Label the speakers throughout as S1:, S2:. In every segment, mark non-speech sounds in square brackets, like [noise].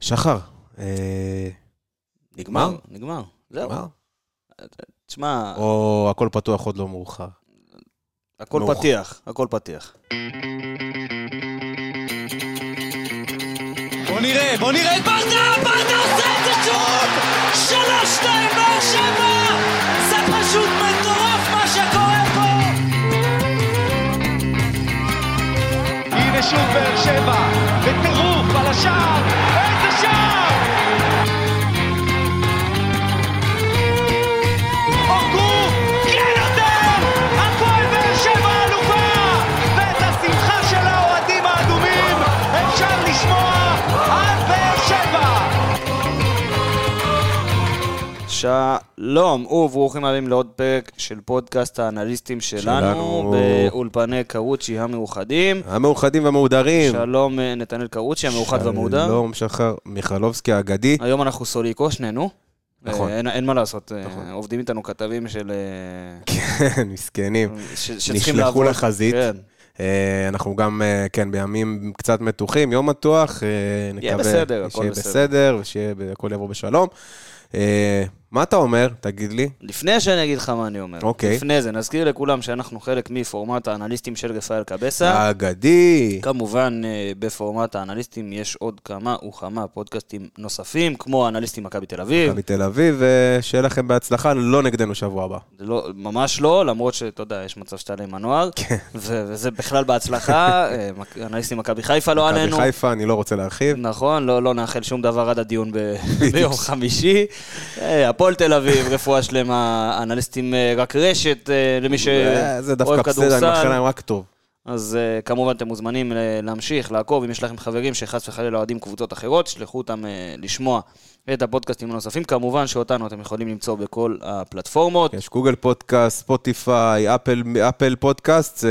S1: שחר, אה, נגמר?
S2: כן, נגמר. זהו.
S1: נגמר?
S2: תשמע,
S1: או הכל פתוח עוד לא מאוחר?
S2: הכל
S1: מאוחר.
S2: פתיח, הכל פתיח.
S3: בוא נראה, בוא נראה את ברדה, ברדה עושה את זה שוב! שלוש, שתיים, באר שבע! זה פשוט מטורף מה שקורה פה!
S4: הנה שוב באר שבע, בטירוף על השער, איזה שער! אורגו, כן נותן! הפועל באר שבע אלופה! ואת השמחה של האוהדים האדומים אפשר לשמוע עד באר שבע!
S2: שלום וברוכים הבאים לעוד פרק של פודקאסט האנליסטים שלנו,
S1: שלנו. אוקיי.
S2: באולפני קרוצ'י המאוחדים.
S1: המאוחדים והמהודרים.
S2: שלום אה, נתנאל קרוצ'י, המאוחד והמהודר. אה,
S1: שלום, שחר מיכלובסקי האגדי.
S2: היום אנחנו סוליקו, שנינו.
S1: נכון.
S2: אה, אין- אין מה לעשות, אה,
S1: נכון.
S2: עובדים איתנו כתבים של... אה,
S1: כן, [laughs] מסכנים.
S2: ש- שצריכים
S1: נשלחו
S2: לעבוד.
S1: לחזית.
S2: כן.
S1: אה, אנחנו גם, אה, כן, בימים קצת מתוחים, יום מתוח. אה,
S2: יהיה
S1: נקווה
S2: בסדר, הכל
S1: שיהיה
S2: בסדר.
S1: בסדר, ושהכול יבוא בשלום. אה, מה אתה אומר? תגיד לי.
S2: לפני שאני אגיד לך מה אני אומר,
S1: אוקיי.
S2: לפני זה נזכיר לכולם שאנחנו חלק מפורמט האנליסטים של רפאל
S1: אה,
S2: קבסה.
S1: האגדי.
S2: כמובן, אה, בפורמט האנליסטים יש עוד כמה וכמה פודקאסטים נוספים, כמו האנליסטים מכבי תל אביב.
S1: מכבי תל אביב, אה, שיהיה לכם בהצלחה, לא נגדנו שבוע הבא.
S2: זה לא, ממש לא, למרות שאתה יודע, יש מצב שתעלה עם הנוער. כן. וזה בכלל
S1: [laughs]
S2: בהצלחה. אה, מק- אנליסטים מכבי חיפה לא
S1: מכבי
S2: עלינו.
S1: חיפה, אני לא רוצה להרחיב.
S2: נכון, לא, לא נאחל שום דבר עד הדיון ב- [laughs] ביום חמישי. אה, הפועל תל אביב, רפואה שלמה, אנליסטים אה, רק רשת, אה, למי
S1: אה, זה
S2: שאוהב
S1: דווקא בסדר, אני מאחל
S2: כדורסל.
S1: להם רק טוב.
S2: אז אה, כמובן אתם מוזמנים ל- להמשיך, לעקוב, אם יש לכם חברים שחס וחלילה אוהדים קבוצות אחרות, שלחו אותם אה, לשמוע את הפודקאסטים הנוספים. כמובן שאותנו אתם יכולים למצוא בכל הפלטפורמות.
S1: יש גוגל פודקאסט, ספוטיפיי, אפל, אפל פודקאסט, אה,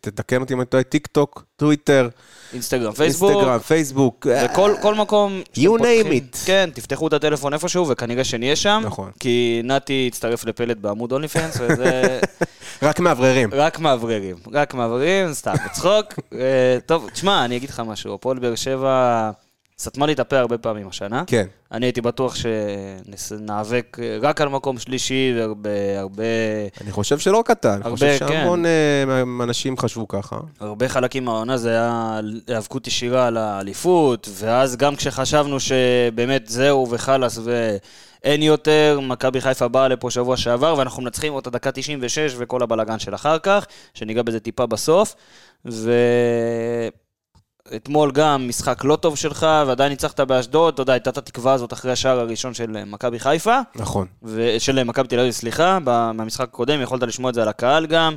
S1: תתקן אותי אם אני טועה, טיק טוק, טוויטר,
S2: אינסטגרם, פייסבוק.
S1: אינסטגרם, פייסבוק. אה,
S2: וכל כל מקום שאתם
S1: You name
S2: פותחים-
S1: it.
S2: כן, תפתחו את הטלפון איפשהו, וכנראה שנהיה שם.
S1: נכון.
S2: כי נתי הצטרף לפלט בעמוד אונלי פנס,
S1: [laughs]
S2: וזה
S1: רק מאווררים.
S2: רק מאווררים. רק מאווררים, סתם, [laughs] בצחוק. אה, טוב, תשמע, אני אגיד לך משהו. הפועל באר שבע סתמה לי את הפה הרבה פעמים השנה.
S1: כן.
S2: אני הייתי בטוח שניאבק רק על מקום שלישי, והרבה... הרבה...
S1: אני חושב שלא קטן, אני
S2: הרבה,
S1: חושב
S2: כן.
S1: שהמון אה, אנשים חשבו ככה.
S2: הרבה חלקים מהעונה זה היה היאבקות ישירה על האליפות, ואז גם כשחשבנו שבאמת זהו וחלאס ואין יותר, מכבי חיפה באה לפה שבוע שעבר, ואנחנו מנצחים אותה דקה 96 וכל הבלגן של אחר כך, שניגע בזה טיפה בסוף. ואתמול גם משחק לא טוב שלך, ועדיין ניצחת באשדוד, אתה יודע, הייתה את התקווה הזאת אחרי השער הראשון של אה, מכבי חיפה.
S1: נכון.
S2: ו- של אה, מכבי תל אביב, סליחה, ב- מהמשחק הקודם, יכולת לשמוע את זה על הקהל גם,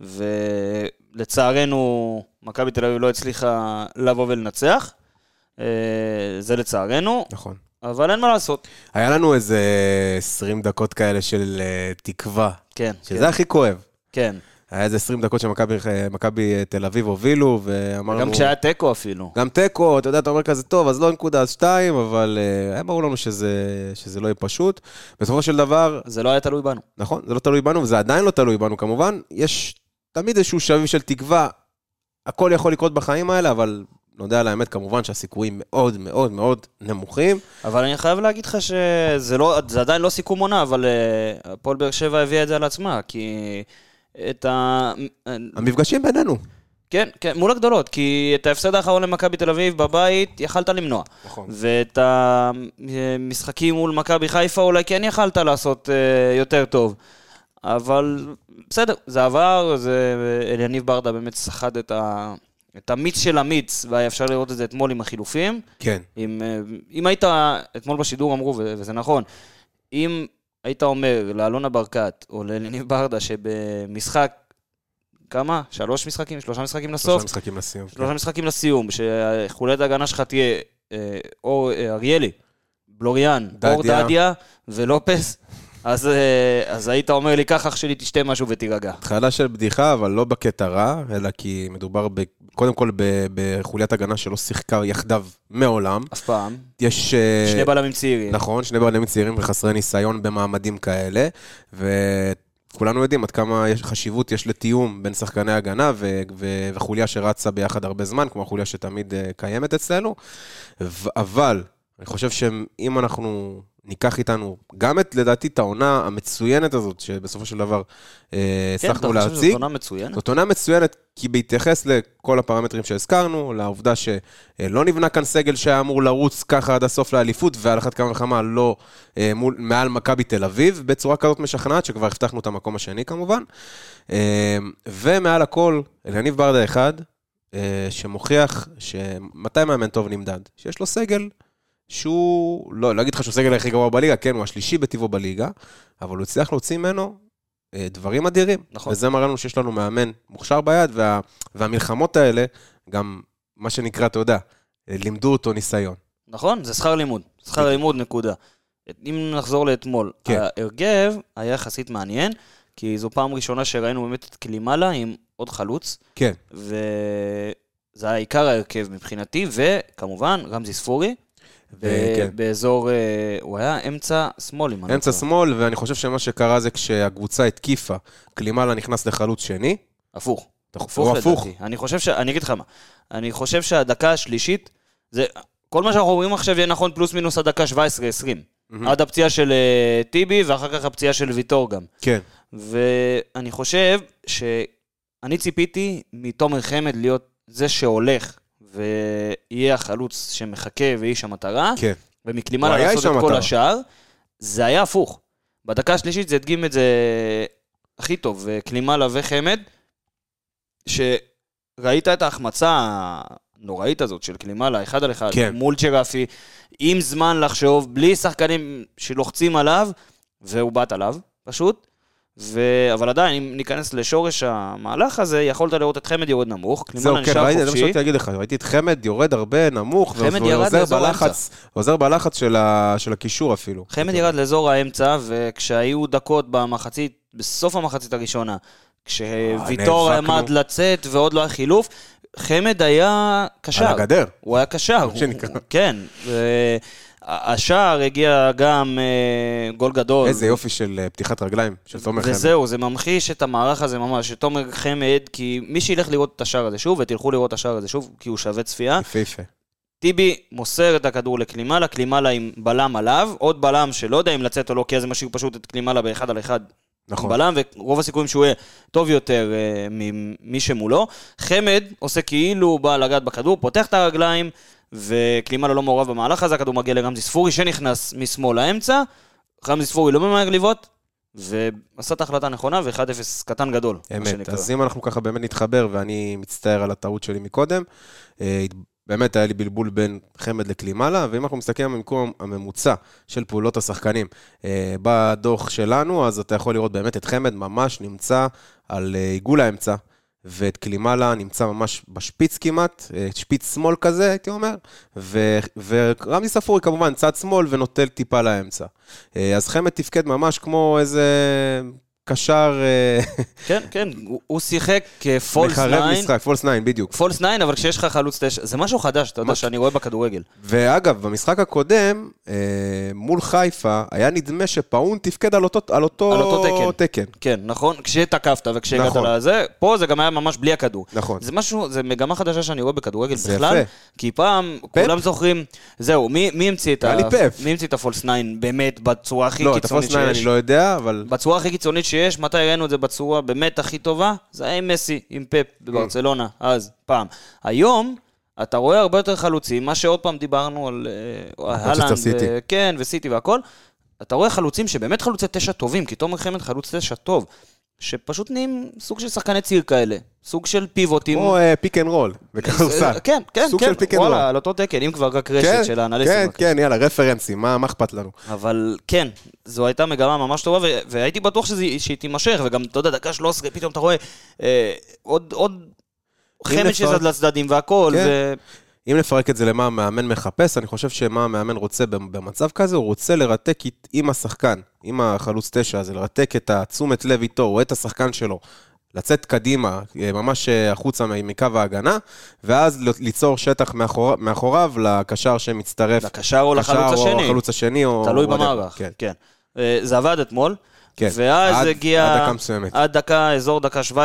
S2: ולצערנו, מכבי תל אביב לא הצליחה לבוא ולנצח. אה, זה לצערנו,
S1: נכון.
S2: אבל אין מה לעשות.
S1: היה לנו איזה 20 דקות כאלה של אה, תקווה,
S2: כן,
S1: שזה הכי כואב.
S2: כן.
S1: היה איזה 20 דקות שמכבי מכבי, אה, תל אביב הובילו, ואמרנו...
S2: גם כשהיה תיקו אפילו.
S1: גם תיקו, אתה יודע, אתה אומר כזה, טוב, אז לא נקודה, אז שתיים, אבל אה, היה ברור לנו שזה, שזה לא יהיה פשוט. בסופו של דבר,
S2: זה לא היה תלוי בנו.
S1: נכון, זה לא תלוי בנו, וזה עדיין לא תלוי בנו כמובן. יש תמיד איזשהו שביב של תקווה. הכל יכול לקרות בחיים האלה, אבל נודה על האמת, כמובן שהסיכויים מאוד מאוד מאוד נמוכים.
S2: אבל אני חייב להגיד לך שזה לא, זה עדיין לא סיכום עונה, אבל אה, הפועל באר שבע הביאה את זה על עצמה, כי את ה... אה,
S1: המפגשים בינינו.
S2: כן, כן, מול הגדולות, כי את ההפסד האחרון למכבי תל אביב בבית יכלת למנוע.
S1: נכון.
S2: ואת המשחקים מול מכבי חיפה אולי כן יכלת לעשות אה, יותר טוב. אבל בסדר, זה עבר, זה... אליניב ברדה באמת סחט את, ה... את המיץ של המיץ, והיה אפשר לראות את זה אתמול עם החילופים.
S1: כן.
S2: אם, אה, אם היית, אתמול בשידור אמרו, ו- וזה נכון, אם היית אומר לאלונה ברקת או לאליניב ברדה שבמשחק, כמה? שלוש משחקים? שלושה משחקים לסוף?
S1: שלושה משחקים לסיום. כן.
S2: שלושה משחקים לסיום, שחוליית ההגנה שלך תהיה אה, אור אה, אריאלי, בלוריאן,
S1: דדיה.
S2: אור דדיה ולופס, אז, אה, אז היית אומר לי, קח אח שלי, תשתה משהו ותירגע.
S1: התחלה של בדיחה, אבל לא בקטע רע, אלא כי מדובר ב, קודם כל ב- בחוליית הגנה שלא שיחקה יחדיו מעולם.
S2: אף פעם.
S1: יש... אה,
S2: שני בלמים צעירים.
S1: נכון, שני בעלים צעירים וחסרי ניסיון במעמדים כאלה, וכולנו יודעים עד כמה יש, חשיבות יש לתיאום בין שחקני הגנה ו, ו, וחוליה שרצה ביחד הרבה זמן, כמו החוליה שתמיד אה, קיימת אצלנו, ו- אבל אני חושב שאם אנחנו ניקח איתנו גם את, לדעתי, את העונה המצוינת הזאת, שבסופו של דבר אה,
S2: כן, אתה
S1: הצלחנו
S2: חושב שזאת
S1: להציג,
S2: עונה מצוינת?
S1: זאת עונה מצוינת, כי בהתייחס לכל הפרמטרים שהזכרנו, לעובדה שלא נבנה כאן סגל שהיה אמור לרוץ ככה עד הסוף לאליפות, ועל אחת כמה וכמה לא אה, מול, מעל מכבי תל אביב, בצורה כזאת משכנעת, שכבר הבטחנו את המקום השני כמובן. אה, ומעל הכל, אליניב ברדה אחד, אה, שמוכיח שמתי מאמן טוב נמדד? שיש לו סגל שהוא, לא, לא אגיד לך שהוא הסגל הכי גרוע בליגה, כן, הוא השלישי בטבעו בליגה, אבל הוא הצליח להוציא ממנו אה, דברים אדירים.
S2: נכון.
S1: וזה מראה לנו שיש לנו מאמן מוכשר ביד, וה, והמלחמות האלה, גם מה שנקרא, אתה יודע, אה, לימדו אותו ניסיון.
S2: נכון, זה שכר לימוד. שכר לימוד, נקודה. אם נחזור לאתמול,
S1: כן.
S2: ההרכב היה יחסית מעניין, כי זו פעם ראשונה שראינו באמת את קלימאלה עם עוד חלוץ,
S1: כן,
S2: וזה היה עיקר ההרכב מבחינתי, וכמובן, רמזי ספורי, ו-
S1: כן.
S2: באזור, אה, הוא היה אמצע שמאל, אם אני לא
S1: אמצע
S2: טועה.
S1: שמאל, ואני חושב שמה שקרה זה כשהקבוצה התקיפה, קלימאלה נכנס לחלוץ שני,
S2: הפוך.
S1: אתה-
S2: הפוך
S1: הוא
S2: לדעתי.
S1: הפוך.
S2: אני חושב ש... אני אגיד לך מה. אני חושב שהדקה השלישית, זה... כל מה שאנחנו אומרים עכשיו יהיה נכון פלוס מינוס עד דקה 17-20.
S1: מהמם.
S2: עד הפציעה של אה, טיבי, ואחר כך הפציעה של ויטור גם.
S1: כן,
S2: ואני חושב שאני ציפיתי מתומר חמד להיות זה שהולך, ויהיה החלוץ שמחכה ואיש המטרה,
S1: כן. הוא
S2: ומקלימלה
S1: היה
S2: לעשות
S1: איש
S2: את כל
S1: המטרה.
S2: השאר. זה היה הפוך. בדקה השלישית זה הדגים את זה הכי טוב, קלימלה וחמד, שראית את ההחמצה הנוראית הזאת של קלימלה, אחד על אחד,
S1: כן.
S2: מול צ'רפי, עם זמן לחשוב, בלי שחקנים שלוחצים עליו, והוא בעט עליו, פשוט. ו... אבל עדיין, אם ניכנס לשורש המהלך הזה, יכולת לראות את חמד יורד נמוך,
S1: זהו,
S2: קלימלה
S1: כן,
S2: נשאר
S1: ראיתי, זה מה
S2: חופשי.
S1: שרציתי להגיד לך, ראיתי את חמד יורד הרבה נמוך,
S2: חמד
S1: והוא
S2: ירד
S1: עוזר
S2: לאזור
S1: בלחץ, עוזר בלחץ של ה- של הקישור אפילו.
S2: חמד ירד לאזור האמצע, וכשהיו דקות במחצית, בסוף המחצית הראשונה, כשוויטור
S1: נאבקנו.
S2: עמד לצאת ועוד לא היה חילוף, חמד היה קשר.
S1: על הגדר.
S2: הוא היה קשר.
S1: מה שנקרא.
S2: הוא- כן. ו- השער הגיע גם אה, גול גדול.
S1: איזה יופי של אה, פתיחת רגליים של תומר חמד.
S2: וזהו, זה ממחיש את המערך הזה ממש, את תומר חמד, כי מי שילך לראות את השער הזה שוב, ותלכו לראות את השער הזה שוב, כי הוא שווה צפייה,
S1: יפהפה.
S2: טיבי מוסר את הכדור לקלימלה, קלימלה עם בלם עליו, עוד בלם שלא יודע אם לצאת או לא, כי אז זה משאיר פשוט את קלימלה באחד על אחד
S1: נכון.
S2: בלם, ורוב הסיכויים שהוא יהיה טוב יותר אה, ממי שמולו. חמד עושה כאילו הוא בא לגעת בכדור, פותח את הרגליים, וקלימלה לא מעורב במהלך הזה, הכדור מגיע לרמזי ספורי שנכנס משמאל לאמצע, רמזי ספורי לא ממהר לבעוט, ועשה את ההחלטה הנכונה, ו-1-0 קטן גדול, מה
S1: אמת,
S2: שנקרא.
S1: אז אם אנחנו ככה באמת נתחבר, ואני מצטער על הטעות שלי מקודם, אה, באמת היה לי בלבול בין חמד לקלימלה, ואם אנחנו מסתכלים על המקום הממוצע של פעולות השחקנים אה, בדוח שלנו, אז אתה יכול לראות באמת את חמד ממש נמצא על אה, עיגול האמצע, ואת קלימלה נמצא ממש בשפיץ כמעט, אה, שפיץ שמאל כזה, הייתי אומר, ו- ורמזי ספורי כמובן צד שמאל ונוטל טיפה לאמצע. אה, אז חמד תפקד ממש כמו איזה קשר... אה,
S2: כן, כן, הוא- הוא שיחק אה, כפולס
S1: מחרב
S2: ליין.
S1: משחק, פולס 9, בדיוק.
S2: פולס 9, אבל כשיש לך חלוץ 9, זה משהו חדש, אתה יודע,
S1: מה-
S2: שאני רואה בכדורגל.
S1: ואגב, במשחק הקודם, אה, מול חיפה, היה נדמה שפאון תפקד על אותו, על אותו,
S2: על אותו
S1: תקן.
S2: כן, נכון? כשתקפת וכשהגעת
S1: נכון.
S2: לזה, פה זה גם היה ממש בלי הכדור.
S1: נכון.
S2: זה משהו, זה מגמה חדשה שאני רואה בכדורגל
S1: זה
S2: בכלל.
S1: יפה.
S2: כי פעם, כולם זוכרים, זהו, מי מי המציא את
S1: היה
S2: ה...
S1: לי פאפ.
S2: מי המציא את הפולס 9 באמת בצורה הכי
S1: לא, את הפולס
S2: קיצונית
S1: 9
S2: שיש?
S1: אני לא יודע, אבל...
S2: בצורה הכי קיצונית שיש, מתי ראינו את זה בצורה באמת הכי טובה? זה היה עם מסי, עם פפ בברצלונה, אז, פעם. היום, אתה רואה הרבה יותר חלוצים, מה שעוד פעם דיברנו על אה,
S1: מנצ'סטר
S2: אהלנד,
S1: סיטי.
S2: ו- כן, וסיטי והכל, אתה רואה חלוצים שבאמת חלוצי תשע טובים, כי תומר חמד חלוץ תשע טוב, שפשוט נהיים סוג של שחקני ציר כאלה, סוג של פיבוטים.
S1: כמו אה, פיק אנד רול,
S2: אה,
S1: בכדורסל.
S2: כן, כן,
S1: סוג
S2: כן,
S1: של פיק אנד רול.
S2: וואלה, על אותו תקן, אם כבר רק רשת
S1: כן,
S2: של האנליסטים.
S1: כן,
S2: רק.
S1: כן, יאללה, רפרנסים, מה מה אכפת לנו?
S2: אבל כן, זו הייתה מגמה ממש טובה, ו- והייתי בטוח שזה, שהיא תימשך, וגם, אתה יודע, דקה 13, פתאום אתה רואה אה, עוד, עוד
S1: אם
S2: חמד
S1: נפרד-
S2: שזד לצדדים והכל,
S1: כן.
S2: ו...
S1: אם נפרק את זה למה המאמן מחפש, אני חושב שמה המאמן רוצה במ- במצב כזה, הוא רוצה לרתק אית- עם השחקן, עם החלוץ תשע הזה, לרתק את התשומת לב איתו, או את השחקן שלו, לצאת קדימה, אה, ממש אה, החוצה מ- מקו ההגנה, ואז ל- ליצור שטח מאחור, מאחוריו לקשר שמצטרף.
S2: לקשר או
S1: קשר
S2: לחלוץ
S1: או
S2: השני,
S1: החלוץ השני, או...
S2: תלוי
S1: whatever.
S2: במערך.
S1: כן.
S2: כן. אה, זה עבד אתמול,
S1: כן.
S2: ואז
S1: עד-
S2: הגיע...
S1: עד דקה מסוימת.
S2: עד דקה, אזור דקה 17-20,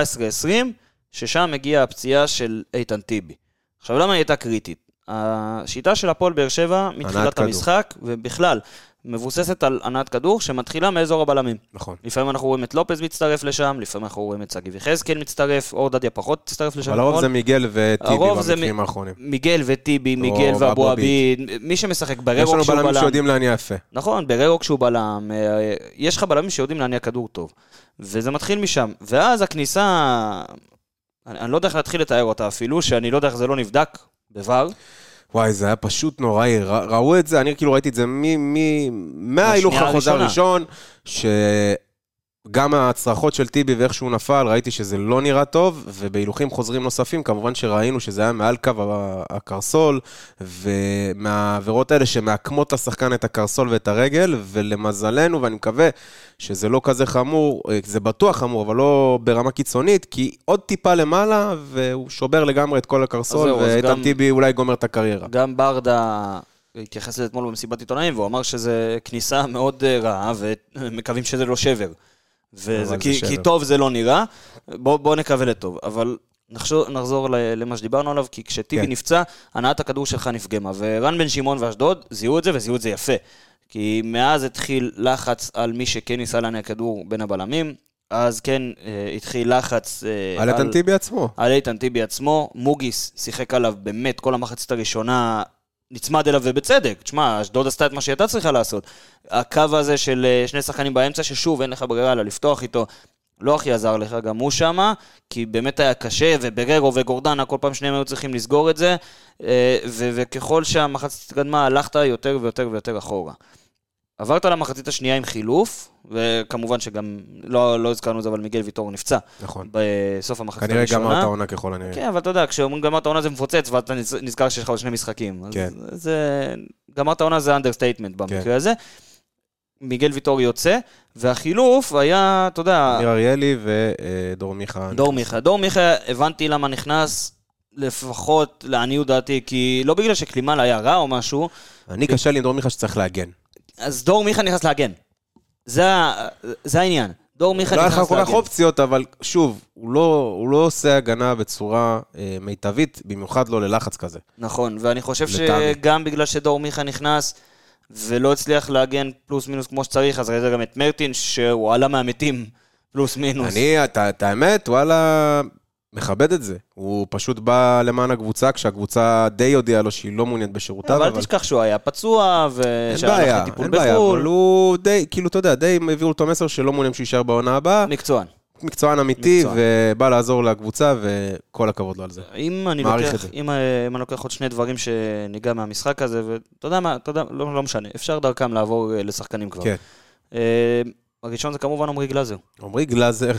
S2: ששם הגיעה הפציעה של איתן טיבי. עכשיו, למה היא הייתה קריטית? השיטה של הפועל באר שבע
S1: הנעת
S2: מתחילת
S1: כדור.
S2: המשחק, ובכלל, מבוססת על הנעת כדור שמתחילה מאזור הבלמים.
S1: נכון.
S2: לפעמים אנחנו רואים את לופז מצטרף לשם, לפעמים אנחנו רואים את שגיב יחזקאל מצטרף, אור דדיה פחות מצטרף לשם.
S1: אבל הרוב
S2: נכון?
S1: זה מיגל וטיבי
S2: הרוב זה
S1: במקרים
S2: מ-
S1: האחרונים.
S2: מיגל וטיבי, מיגל
S1: או
S2: ואבו
S1: אבו
S2: עביד, מי שמשחק
S1: יש
S2: בררו
S1: לנו
S2: כשהוא
S1: בלמים
S2: בלם.
S1: שיודעים להניע יפה.
S2: נכון, בררו כשהוא בלם, אה, יש לך בלמים שיודעים להניע כדור טוב. וזה מתחיל משם. ואז הכניסה, אני, אני לא יודע איך להתחיל לתאר אותה אפילו, שאני לא יודע איך זה לא נבדק בVAR.
S1: וואי, זה היה פשוט נוראי, ר- ראו את זה, אני כאילו ראיתי את זה מ- מ- מההילוך
S2: מהשנייה
S1: החוזר
S2: הראשונה.
S1: הראשון, שגם הצרחות של טיבי ואיך שהוא נפל, ראיתי שזה לא נראה טוב, ובהילוכים חוזרים נוספים, כמובן שראינו שזה היה מעל קו ה- הקרסול, ומהעבירות האלה שמעקמות לשחקן את הקרסול ואת הרגל, ולמזלנו, ואני מקווה שזה לא כזה חמור, אה, זה בטוח חמור, אבל לא ברמה קיצונית, כי עוד טיפה למעלה, והוא שובר לגמרי את כל הקרסול,
S2: זהו, אז גם-
S1: ואיתן טיבי אולי גומר את הקריירה.
S2: גם ברדה התייחס לזה אתמול במסיבת עיתונאים, והוא אמר שזה כניסה מאוד אה, רעה, ומקווים שזה לא שבר. וזה
S1: זה
S2: כי,
S1: שבר.
S2: כי טוב זה לא נראה, בואו בוא נקווה לטוב. אבל נחשור, נחזור ל- למה שדיברנו עליו, כי כשטיבי
S1: כן.
S2: נפצע, הנעת הכדור שלך נפגמה. ורן בן שמעון ואשדוד זיהו את זה, וזיהו את זה יפה. כי מאז התחיל לחץ על מי שכן ניסה להניע כדור בין הבלמים, אז כן אה, התחיל לחץ אה,
S1: על איתן טיבי עצמו.
S2: על איתן טיבי עצמו, מוגיס שיחק עליו באמת כל המחצית הראשונה, נצמד אליו ובצדק. תשמע, אשדוד עשתה את מה שהיא הייתה צריכה לעשות. הקו הזה של אה, שני שחקנים באמצע, ששוב, אין לך ברירה אלא לפתוח איתו, לא הכי עזר לך, גם הוא שמה, כי באמת היה קשה, ובררו וגורדנה, כל פעם שניהם היו צריכים לסגור את זה, אה, ו- וככל שהמחצית התקדמה, הלכת יותר ויותר ויותר אחורה. עברת למחצית השנייה עם חילוף, וכמובן שגם, לא, לא הזכרנו את זה, אבל מיגל ויטור נפצע
S1: נכון.
S2: בסוף המחצית
S1: כנראה
S2: הראשונה.
S1: גמר את העונה ככל הנראה.
S2: כן, אבל אתה יודע, כשאומרים גמרת העונה זה מפוצץ, ואתה נז- נזכר שיש לך עוד שני משחקים. אז
S1: כן.
S2: זה... גמרת העונה זה אנדרסטייטמנט
S1: כן.
S2: במקרה הזה. מיגל ויטור יוצא, והחילוף היה, אתה יודע,
S1: ניר אריאלי ודור מיכה.
S2: דור מיכה. דור מיכה, הבנתי למה נכנס, לפחות לעניות דעתי, כי לא בגלל שקלימל היה רע או משהו,
S1: אני קשה לי עם דור מיכה שצריך להגן.
S2: אז דור מיכה נכנס להגן. זה ה- זה העניין. דור מיכה
S1: לא היה
S2: נכנס
S1: לך
S2: להגן.
S1: כל כך אופציות, אבל שוב, הוא לא- הוא לא עושה הגנה בצורה אה, מיטבית, במיוחד לא ללחץ כזה.
S2: נכון, ואני חושב
S1: לטעמי.
S2: שגם בגלל שדור מיכה נכנס ולא הצליח להגן פלוס מינוס כמו שצריך, אז ראית גם את מרטין, שהוא עלה מהמתים פלוס מינוס.
S1: אני, את את האמת, וואלה, מכבד את זה. הוא פשוט בא למען הקבוצה, כשהקבוצה די הודיעה לו שהיא לא מעוניינת בשירותיו,
S2: אבל אל
S1: אבל...
S2: תשכח שהוא היה פצוע,
S1: אין
S2: ושהיה
S1: בעיה,
S2: לך טיפול
S1: אין בעיה, אבל
S2: בחו"ל.
S1: הוא די, כאילו, אתה יודע, די הביאו אותו מסר שלא מעוניין שהוא יישאר בעונה הבאה.
S2: מקצוען.
S1: מקצוען אמיתי,
S2: מקצוען.
S1: ובא לעזור לקבוצה, וכל הכבוד לו על זה.
S2: אם אני
S1: מעריך
S2: לוקח,
S1: את זה.
S2: אם, אה, אם אני לוקח עוד שני דברים שניגע מהמשחק הזה, ואתה יודע מה, אתה יודע, לא, לא משנה, אפשר דרכם לעבור אה, לשחקנים כבר.
S1: כן.
S2: אה, הראשון זה כמובן עמרי גלאזר.
S1: עמרי גלאזר,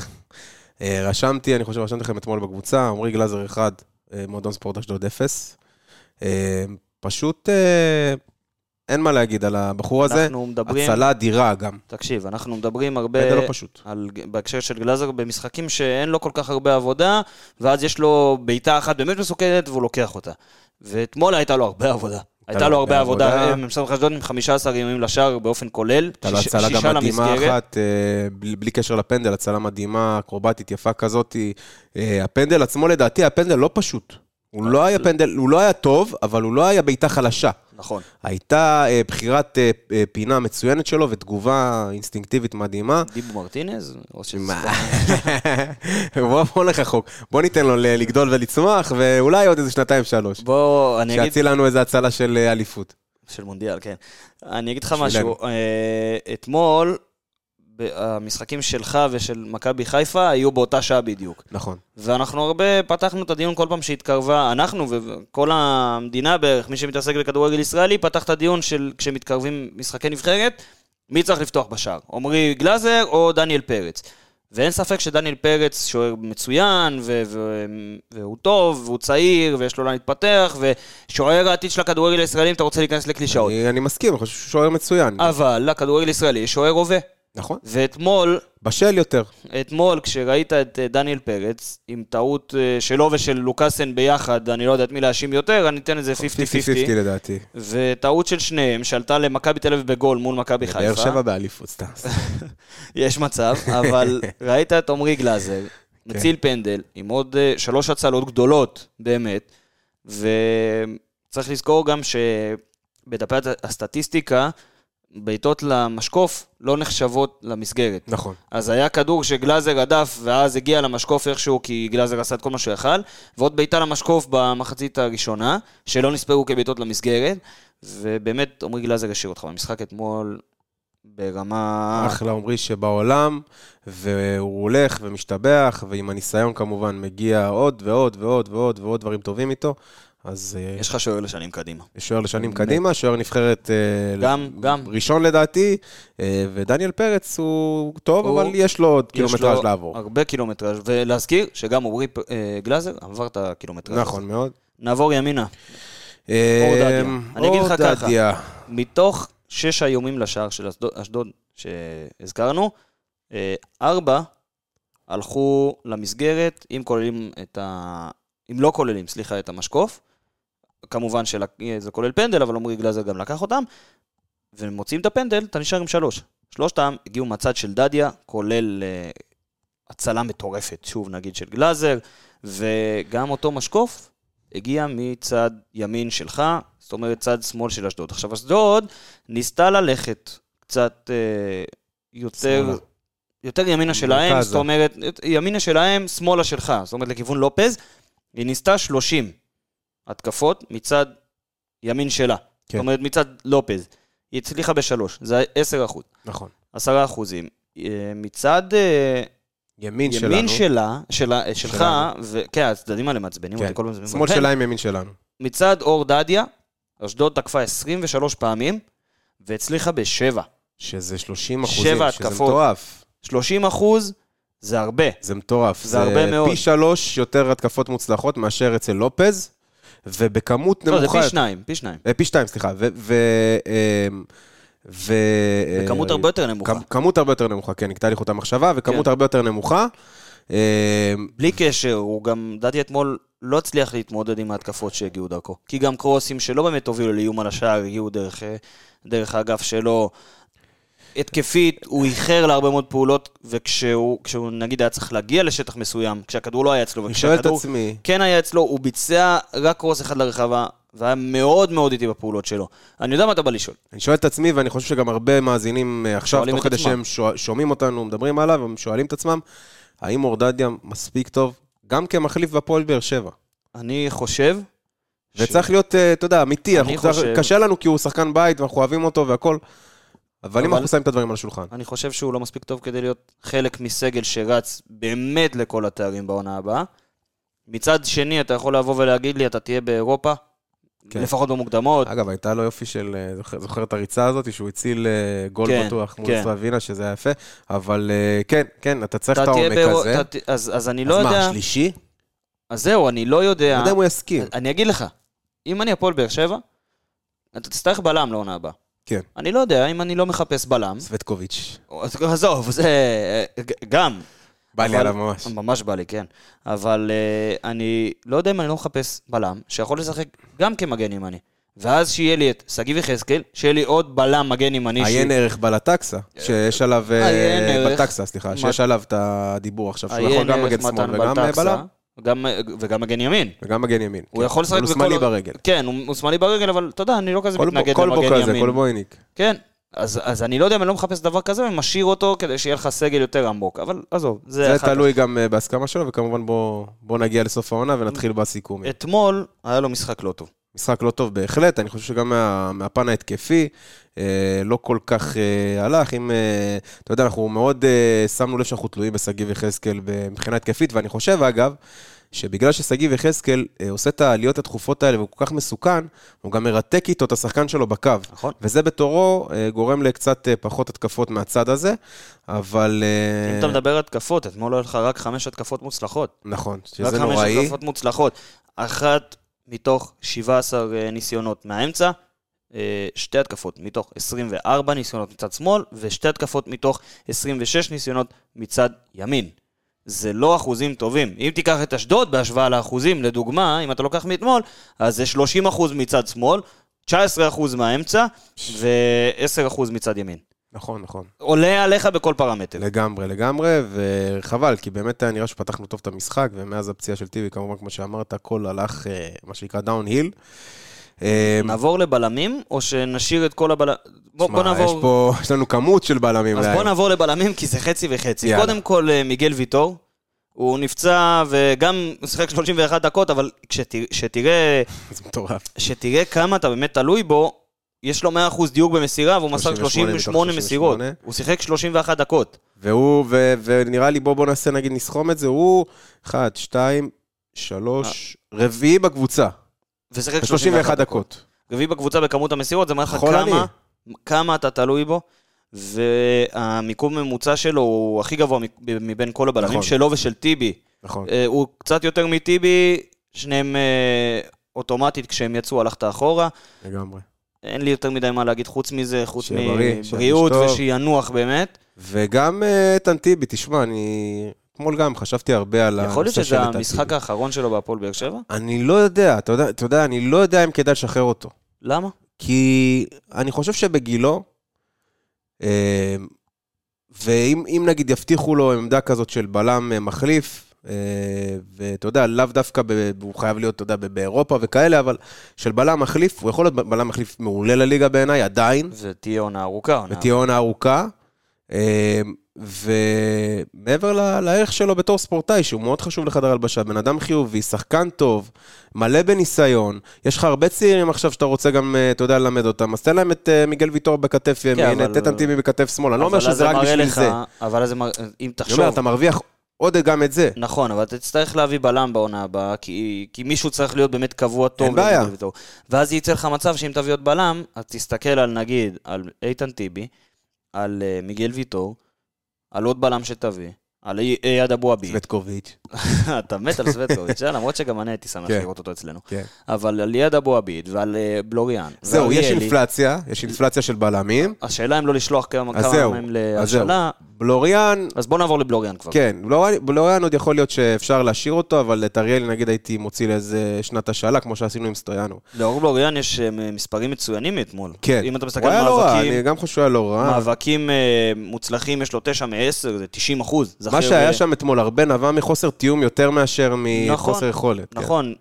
S1: אה, רשמתי, אני חושב, רשמתי לכם אתמול בקבוצה, עמרי גלאזר 1, אה, מועדון ספורט אשדוד 0. אה, פשוט אה, אין מה להגיד על הבחור הזה.
S2: אנחנו מדברים,
S1: הצלה אדירה גם.
S2: תקשיב, אנחנו מדברים הרבה...
S1: זה לא פשוט.
S2: על, בהקשר של גלאזר במשחקים שאין לו כל כך הרבה עבודה, ואז יש לו בעיטה אחת באמת מסוכנת והוא לוקח אותה. ואתמול הייתה לו הרבה עבודה. הייתה לו הרבה עבודה, ממשרד אשדוד עם 15 איומים לשער באופן כולל,
S1: הייתה לו
S2: שיש-
S1: הצלה
S2: שישה
S1: גם מדהימה
S2: למסגרת.
S1: אחת, אה, בלי בלי קשר לפנדל, הצלה מדהימה, אקרובטית, יפה כזאת. אה, הפנדל עצמו, לדעתי, הפנדל לא פשוט. הוא לא היה פנדל, הוא לא היה טוב, אבל הוא לא היה בעיטה חלשה.
S2: נכון.
S1: הייתה אה, בחירת אה, אה, פינה מצוינת שלו ותגובה אינסטינקטיבית
S2: [laughs]
S1: מדהימה.
S2: דיבו מרטינז? או ש-
S1: בוא בוא נחחוק, בוא ניתן לו ל- לגדול ולצמוח, ואולי עוד איזה שנתיים-שלוש.
S2: [laughs] בוא, אני אגיד...
S1: שיציל לנו איזה הצלה של אה, אליפות.
S2: של מונדיאל, כן. אני אגיד לך
S1: בשבילנו.
S2: משהו, אה, אתמול, המשחקים שלך ושל מכבי חיפה היו באותה שעה בדיוק.
S1: נכון.
S2: ואנחנו הרבה פתחנו את הדיון כל פעם שהתקרבה, אנחנו וכל המדינה בערך, מי שמתעסק בכדורגל ישראלי, פתח את הדיון של כשמתקרבים משחקי נבחרת, מי צריך לפתוח בשער? עמרי גלאזר או דניאל פרץ? ואין ספק שדניאל פרץ שוער מצוין, ו- ו- והוא טוב, והוא צעיר, ויש לו לאן להתפתח, ושוער העתיד של הכדורגל הישראלי, אם אתה רוצה להיכנס לקלישאות.
S1: אני- אני מסכים, אני חושב שהוא שוער מצוין.
S2: אבל לכדורגל הישראלי יש שוער הווה.
S1: נכון.
S2: ואתמול
S1: בשל יותר.
S2: אתמול כשראית את אה, דניאל פרץ, עם טעות אה, שלו ושל לוקאסן ביחד, אני לא יודע את מי להאשים יותר, אני
S1: נכון,
S2: אתן איזה 50-50,
S1: 50-50 לדעתי.
S2: וטעות של שניהם שעלתה למכבי תל אביב בגול מול מכבי
S1: באר
S2: חיפה,
S1: שבע באליפות, סתם.
S2: [laughs] יש מצב, אבל ראית את עמרי גלאזר, מציל פנדל, עם עוד אה, שלוש הצלות גדולות, באמת, ו... צריך לזכור גם שבדפי הסטטיסטיקה, בעיטות למשקוף לא נחשבות למסגרת.
S1: נכון.
S2: אז היה כדור שגלאזר הדף, ואז הגיע למשקוף איכשהו, כי גלאזר עשה את כל מה שהוא יכל, ועוד בעיטה למשקוף במחצית הראשונה, שלא נספרו כבעיטות למסגרת, ובאמת, עמרי גלאזר השאיר אותך במשחק אתמול ברמה...
S1: אחלה עומרי שבעולם, והוא הולך ומשתבח, ועם הניסיון כמובן מגיע עוד ועוד ועוד ועוד ועוד דברים טובים איתו. אז אה,
S2: יש לך שוער לשנים קדימה.
S1: שוער לשנים קדימה, שוער נבחרת אה,
S2: גם-
S1: ל-
S2: גם.
S1: ראשון לדעתי, אה, ודניאל פרץ הוא טוב,
S2: הוא-
S1: אבל יש לו עוד
S2: יש
S1: קילומטראז'
S2: לו
S1: לעבור.
S2: הרבה קילומטראז', ולהזכיר שגם עמרי פ- אה, גלאזר עבר את הקילומטראז'.
S1: נכון מאוד.
S2: נעבור ימינה.
S1: אה,
S2: דדיה. אני אגיד לך
S1: אור
S2: ככה.
S1: דדיה. מתוך...
S2: מתוך שש האיומים לשער של אשדוד- אשדוד שהזכרנו, אה, ארבע הלכו למסגרת, אם כוללים את ה... אם לא כוללים, סליחה, את המשקוף. כמובן שזה כולל פנדל, אבל עמרי גלאזר גם לקח אותם. ומוציאים את הפנדל, אתה נשאר עם שלוש. שלושתם הגיעו מהצד של דדיה, כולל אה, הצלה מטורפת, שוב נגיד, של גלאזר, וגם אותו משקוף הגיע מצד ימין שלך, זאת אומרת צד שמאל של אשדוד. עכשיו, אשדוד ניסתה ללכת קצת אה, יותר...
S1: שמאלה.
S2: יותר ימינה שלהם,
S1: מרכזה.
S2: זאת אומרת, ימינה שלהם, שמאלה שלך, זאת אומרת לכיוון לופז, היא ניסתה 30 התקפות מצד ימין שלה. זאת
S1: כן.
S2: אומרת, מצד לופז. היא הצליחה בשלוש, זה 10 אחוז,
S1: נכון.
S2: 10 אחוזים. אה, מצד אה,
S1: ימין שלנו.
S2: ימין שלה, שלה, אה, שלך,
S1: שלנו.
S2: ו- כן, הצדדים האלה מעצבנים
S1: כן.
S2: אותי כל הזמן.
S1: שמאל
S2: כן.
S1: שלה עם ימין שלנו.
S2: מצד אור דדיה, אשדוד תקפה 23 פעמים, והצליחה בשבע.
S1: שזה 30
S2: שבע
S1: אחוזים. שזה
S2: התקפות.
S1: מטורף.
S2: 30 אחוז זה הרבה.
S1: זה מטורף.
S2: זה הרבה מאוד.
S1: פי שלוש יותר התקפות מוצלחות מאשר אצל לופז, ובכמות
S2: לא, זה
S1: נמוכה...
S2: פי שניים, פי שניים.
S1: אה, פי שתיים, סליחה. ו... ו... אמ, ו...
S2: בכמות
S1: אה,
S2: הרבה יותר נמוכה.
S1: כמ- כמות הרבה יותר נמוכה, כן, נקטע לי חוט המחשבה, וכמות
S2: כן.
S1: הרבה יותר נמוכה. אמ,
S2: בלי קשר, הוא גם, דעתי אתמול, לא הצליח להתמודד עם ההתקפות שהגיעו דרכו. כי גם קרוסים שלא באמת הובילו לאיום על השער, הגיעו דרך, אה, דרך האגף שלו. התקפית, הוא איחר להרבה מאוד פעולות, וכשהוא, כשהוא, נגיד, היה צריך להגיע לשטח מסוים, כשהכדור לא היה אצלו,
S1: אני שואל את
S2: וכשהכדור
S1: עצמי,
S2: כן היה אצלו, הוא ביצע רק קרוס אחד לרחבה, והיה מאוד מאוד איטי בפעולות שלו. אני יודע מה אתה בא לשאול.
S1: אני שואל את עצמי, ואני חושב שגם הרבה מאזינים אה, עכשיו,
S2: שואלים
S1: תוך
S2: את
S1: כדי
S2: עצמם.
S1: שהם שוע- שומעים אותנו, מדברים עליו, הם שואלים את עצמם, האם אורדדיה מספיק טוב, גם כמחליף בפועל באר שבע?
S2: אני חושב... ש-
S1: וצריך להיות, אה, אתה יודע, אמיתי, אנחנו
S2: חושב-
S1: צריך- קשה לנו כי הוא שחקן בית ואנחנו אוהבים אותו והכל, אבל אם
S2: אבל-
S1: אנחנו שמים את הדברים על השולחן.
S2: אני חושב שהוא לא מספיק טוב כדי להיות חלק מסגל שרץ באמת לכל התארים בעונה הבאה. מצד שני, אתה יכול לבוא ולהגיד לי, אתה תהיה באירופה,
S1: כן.
S2: לפחות במוקדמות.
S1: אגב, הייתה לו יופי של, אה, זוכר- זוכר את הריצה הזאת, שהוא הציל אה, גול
S2: כן,
S1: בטוח מול
S2: כן.
S1: סלווינה, שזה היה יפה, אבל אה, כן, כן, אתה צריך את
S2: אתה תהיה
S1: העומק
S2: באירו-
S1: הזה.
S2: אתה ת- אז אז אני לא
S1: אז מה,
S2: יודע...
S1: השלישי?
S2: אז זהו, אני לא
S1: אני
S2: יודע.
S1: יודע אם הוא יסכים.
S2: אני אגיד לך, אם אני הפועל באר שבע, אתה תצטרך בלם לעונה הבאה.
S1: כן.
S2: אני לא יודע, אם אני לא מחפש בלם,
S1: סווטקוביץ'.
S2: אז עזוב, זה ג- גם.
S1: בא לי
S2: אבל-
S1: עליו ממש.
S2: ממש בא לי, כן. אבל uh, אני לא יודע אם אני לא מחפש בלם שיכול לשחק גם כמגן ימני. ואז שיהיה לי את שגיב יחזקאל, שיהיה לי עוד בלם מגן ימני.
S1: עיין ערך בלטקסה, שיש עליו... אה,
S2: עיין ערך.
S1: בלטקסה, סליחה,
S2: מה-
S1: שיש עליו את הדיבור עכשיו, שהוא
S2: עיין
S1: יכול גם
S2: ערך
S1: מגן
S2: מתן
S1: שמאל וגם אה,
S2: בלטקסה,
S1: בלם,
S2: גם, אה, וגם מגן ימין.
S1: וגם מגן ימין.
S2: הוא
S1: כן.
S2: יכול לשחק
S1: אבל
S2: בכל...
S1: הוא שמאלי ברגל.
S2: כן, הוא, הוא שמאלי ברגל, אבל אתה יודע, אני לא כזה
S1: כל
S2: מתנגד
S1: בו- כל בו
S2: למגן
S1: כזה,
S2: ימין.
S1: כל בויניק.
S2: כן, אז, אז אני לא יודע אם אני לא מחפש דבר כזה, אני משאיר אותו כדי שיהיה לך סגל יותר עמוק. אבל עזוב, זה,
S1: זה
S2: אחר כך.
S1: תלוי גם אה, בהסכמה שלו, וכמובן בוא- בוא נגיע לסוף העונה
S2: אה,
S1: ונתחיל בסיכום.
S2: אתמול היה לו משחק לא טוב.
S1: משחק לא טוב בהחלט, אני חושב שגם מה, מהפן ההתקפי, אה, לא כל כך אה, הלך. אם, אה, אתה יודע, אנחנו מאוד אה, שמנו לב שאנחנו תלויים בשגיב יחזקאל ב- מבחינה התקפית, ואני חושב, אגב, שבגלל ששגיב יחזקאל אה, עושה את העליות התכופות האלה והוא כל כך מסוכן, הוא גם מרתק איתו את השחקן שלו בקו.
S2: נכון.
S1: וזה בתורו אה, גורם לקצת אה, פחות התקפות מהצד הזה, אבל... אה,
S2: אם אתה מדבר על התקפות, אתמול היה לך רק חמש התקפות מוצלחות.
S1: נכון, שזה
S2: רק חמש
S1: נוראי.
S2: התקפות מוצלחות. אחת מתוך 17 אה, ניסיונות מהאמצע, אה, שתי התקפות מתוך 24 ניסיונות מצד שמאל, ושתי התקפות מתוך 26 ניסיונות מצד ימין. זה לא אחוזים טובים. אם תיקח את אשדוד בהשוואה לאחוזים, לדוגמה, אם אתה לוקח מאתמול, אז זה 30 אחוז מצד שמאל, 19 אחוז מהאמצע ו-10 אחוז מצד ימין.
S1: נכון, נכון.
S2: עולה עליך בכל פרמטר.
S1: לגמרי, לגמרי, וחבל, כי באמת היה נראה שפתחנו טוב את המשחק, ומאז הפציעה של טיבי, כמובן, כמו שאמרת, הכל הלך, אה, מה שנקרא, דאון היל. אה,
S2: נעבור לבלמים, או שנשאיר את כל הבלמים? בוא, בוא
S1: שמע,
S2: נעבור...
S1: יש פה, יש לנו כמות של בלמים. אה,
S2: אז
S1: להם.
S2: בוא נעבור לבלמים, כי זה חצי וחצי.
S1: יאללה.
S2: קודם כל, אה, מיגל ויטור. הוא נפצע וגם הוא שיחק 31 דקות, אבל כשת- כשתראה
S1: [laughs] זה מטורף.
S2: שתראה כמה אתה באמת תלוי בו, יש לו 100% דיוק במסירה, והוא מסר
S1: 38 מתוך
S2: 38 מסירות.
S1: 38.
S2: הוא שיחק 31 דקות.
S1: והוא, ו, ונראה לי, בוא, בוא נעשה, נגיד, נסכום את זה, הוא 1, 2, 3,
S2: אה.
S1: רביעי בקבוצה.
S2: ושיחק
S1: 31 דקות. נכון,
S2: רביעי בקבוצה בכמות המסירות, זה מראה לך
S1: חולני.
S2: כמה, כמה אתה תלוי בו. והמיקום ממוצע שלו הוא הכי גבוה מ- מבין כל הבלמים
S1: נכון.
S2: שלו ושל טיבי.
S1: נכון.
S2: אה, הוא קצת יותר מטיבי, שניהם אה, אוטומטית כשהם יצאו הלכת אחורה.
S1: לגמרי.
S2: אין לי יותר מדי מה להגיד חוץ מזה, חוץ
S1: שיהיה בריא, שירגיש
S2: מבריאות
S1: טוב.
S2: ושינוח באמת.
S1: וגם אה, איתן טיבי, תשמע, אני... אתמול גם חשבתי הרבה על הנושא של
S2: יכול להיות
S1: איתן
S2: שזה
S1: טיבי.
S2: המשחק האחרון שלו בהפועל באר שבע?
S1: אני לא יודע, אתה יודע, אתה יודע, אני לא יודע אם כדאי לשחרר אותו.
S2: למה?
S1: כי אני חושב שבגילו, אה, ואם אם נגיד יבטיחו לו עמדה כזאת של בלם אה, מחליף, אה, ואתה יודע, לאו דווקא, ב, הוא חייב להיות, אתה יודע, ב- באירופה וכאלה, אבל של בלם מחליף, הוא יכול להיות ב- בלם מחליף מעולה לליגה בעיניי, עדיין,
S2: ותהיה עונה ארוכה. עונה.
S1: ותהיה עונה ארוכה. אה, ומעבר ל- לערך שלו בתור ספורטאי, שהוא מאוד חשוב לחדר הלבשה, בן אדם חיובי, שחקן טוב, מלא בניסיון, יש לך הרבה צעירים עכשיו שאתה רוצה גם, אה, אתה יודע, ללמד אותם, אז תן להם את אה, מיגל ויטור בכתף ימין,
S2: כן, אבל- אה,
S1: את איתן טיבי בכתף שמאל, אני לא
S2: אבל
S1: אומר
S2: אז
S1: שזה רק
S2: מראה
S1: בשביל
S2: לך-
S1: זה.
S2: אבל אז זה מראה, אם
S1: אני אומר,
S2: תחשוב,
S1: אתה מרוויח עוד גם את זה.
S2: נכון, אבל אתה תצטרך להביא בלם בעונה הבאה, כי כי מישהו צריך להיות באמת קבוע טוב.
S1: אין בעיה.
S2: לבלם טוב. ואז יצא לך מצב שאם תביא עוד בלם, אז תסתכל על נגיד, על איתן טיבי, על אה, מיגל ויטור, על עוד בלם שתביא, על אי- אייד אבו עביד.
S1: סווטקוביץ'.
S2: [laughs] אתה מת על סווטקוביץ', אה, למרות שגם אני הייתי שמח
S1: כן.
S2: לראות אותו אצלנו.
S1: כן.
S2: אבל על אייד אבו עביד ועל אה, בלוריאן.
S1: זהו,
S2: ועל
S1: יש
S2: אריאלי.
S1: אינפלציה, יש אינפלציה של בלמים.
S2: השאלה אם לא לשלוח כמה
S1: אז
S2: כמה
S1: זהו,
S2: מהם
S1: אז זהו.
S2: להשאלה,
S1: בלוריאן,
S2: אז בוא נעבור לבלוריאן כבר.
S1: כן, בלוריאן- בלוריאן עוד יכול להיות שאפשר להשאיר אותו, אבל את אריאלי נגיד הייתי מוציא לאיזה שנת השאלה, כמו שעשינו עם סטויאנו.
S2: לאור בלוריאן יש אה, מספרים מצוינים מאתמול.
S1: כן.
S2: אם אתה מסתכל
S1: הוא
S2: על
S1: היה לא רע, אני
S2: מאבקים,
S1: גם חושב שהוא היה לא רע.
S2: מאבקים אה, מוצלחים, יש לו 9 מ-10, זה אה, 90 אחוז.
S1: מה שהיה שם אתמול הרבה נבע מחוסר תיאום יותר מאשר מחוסר
S2: נכון,
S1: יכולת. כן.
S2: נכון,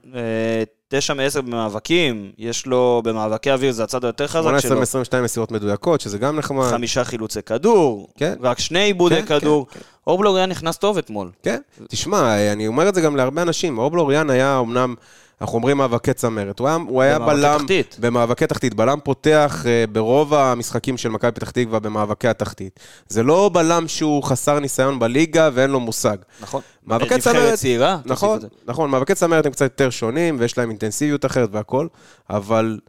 S2: 9 מ-10 במאבקים, יש לו, במאבקי אוויר זה הצד היותר חזק שלו.
S1: 18 22 מסירות מדויקות, שזה גם נחמד.
S2: חמישה חילוצי כדור,
S1: כן.
S2: רק שני עיבודי
S1: כן,
S2: כדור. אור בלוריאן נכנס טוב אתמול.
S1: כן, תשמע, אני אומר את זה גם להרבה אנשים. אור בלוריאן היה אמנם, אנחנו אומרים מאבקי צמרת. הוא היה, הוא היה
S2: במאבקי
S1: בלם...
S2: תחתית.
S1: במאבקי תחתית. בלם פותח אה, ברוב המשחקים של מכבי פתח תקווה במאבקי התחתית. זה לא בלם שהוא חסר ניסיון בליגה ואין לו מושג.
S2: נכון.
S1: מאבקי
S2: נבחרת
S1: צמרת-
S2: צעירה. תוסיף
S1: נכון,
S2: את זה.
S1: נכון, מאבקי צמרת הם קצת יותר שונים, ויש להם אינטנסיביות אחרת והכל, אבל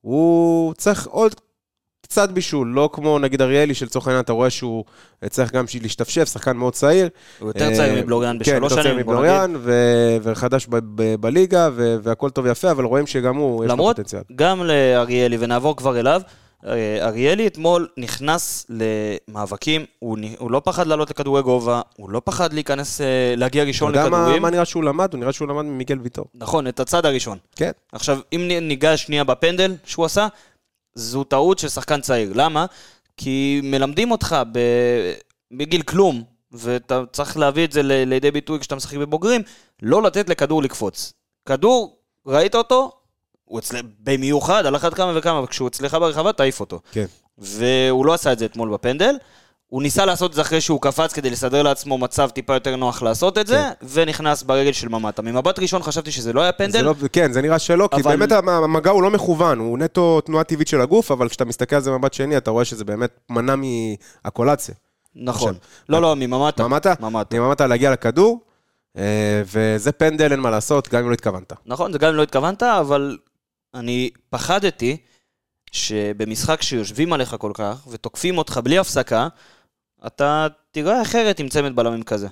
S1: הוא צריך עוד קצת בישול, לא כמו נגיד אריאלי, שלצורך העניין אתה רואה שהוא צריך גם בשביל להשתפשף, שחקן מאוד צעיר.
S2: הוא יותר צעיר
S1: אה,
S2: מבלוריאן בשלוש
S1: כן, יותר צעיר
S2: שנים, בוא נגיד.
S1: מבלוריאן, ו- וחדש ב- ב- בליגה, ו- והכל טוב ויפה, אבל רואים שגם הוא, יש לו
S2: למרות,
S1: פוטנציאל.
S2: גם לאריאלי, ונעבור כבר אליו, אה, אריאלי אתמול נכנס למאבקים, הוא נ- הוא לא פחד לעלות לכדורי גובה, הוא לא פחד להיכנס, אה, להגיע
S1: אתה
S2: ראשון
S1: יודע מה-
S2: לכדורים.
S1: מה נראה שהוא למד? הוא נראה שהוא למד ממיגל ויטור.
S2: נכון, את הצד הראשון.
S1: כן.
S2: עכשיו, אם נ- ניגע שנייה בפנדל שהוא עשה, זו טעות של שחקן צעיר. למה? כי מלמדים אותך ב... בגיל כלום, ואתה צריך להביא את זה ל- לידי ביטוי כשאתה משחק בבוגרים, לא לתת לכדור לקפוץ. כדור, ראית אותו? הוא אצל... במיוחד, על אחת כמה וכמה, וכשהוא אצלך ברחבה, תעיף אותו.
S1: כן.
S2: והוא לא עשה את זה אתמול בפנדל. הוא ניסה לעשות את זה אחרי שהוא קפץ כדי לסדר לעצמו מצב טיפה יותר נוח לעשות את זה,
S1: כן.
S2: ונכנס ברגל של ממ"טה. ממבט ראשון חשבתי שזה לא היה
S1: זה
S2: פנדל,
S1: לא, כן, זה נראה שלא, כי
S2: אבל-
S1: באמת המ- המגע הוא לא מכוון, הוא נטו תנועה טבעית של הגוף, אבל כשאתה מסתכל על זה במבט שני, אתה רואה שזה באמת מנע מהקולציה.
S2: נכון.
S1: עכשיו,
S2: לא, לא, מממ"טה.
S1: ממ"טה?
S2: ממ"טה.
S1: נממת להגיע לכדור, אה, וזה פנדל, אין מה לעשות, גם אם לא התכוונת.
S2: נכון, זה גם אם לא התכוונת, אבל אני פחדתי שבמשחק שיושבים עליך כל כך ותוקפים אותך בלי הפסקה, אתה תיראה אחרת עם צמד בלמים כזה.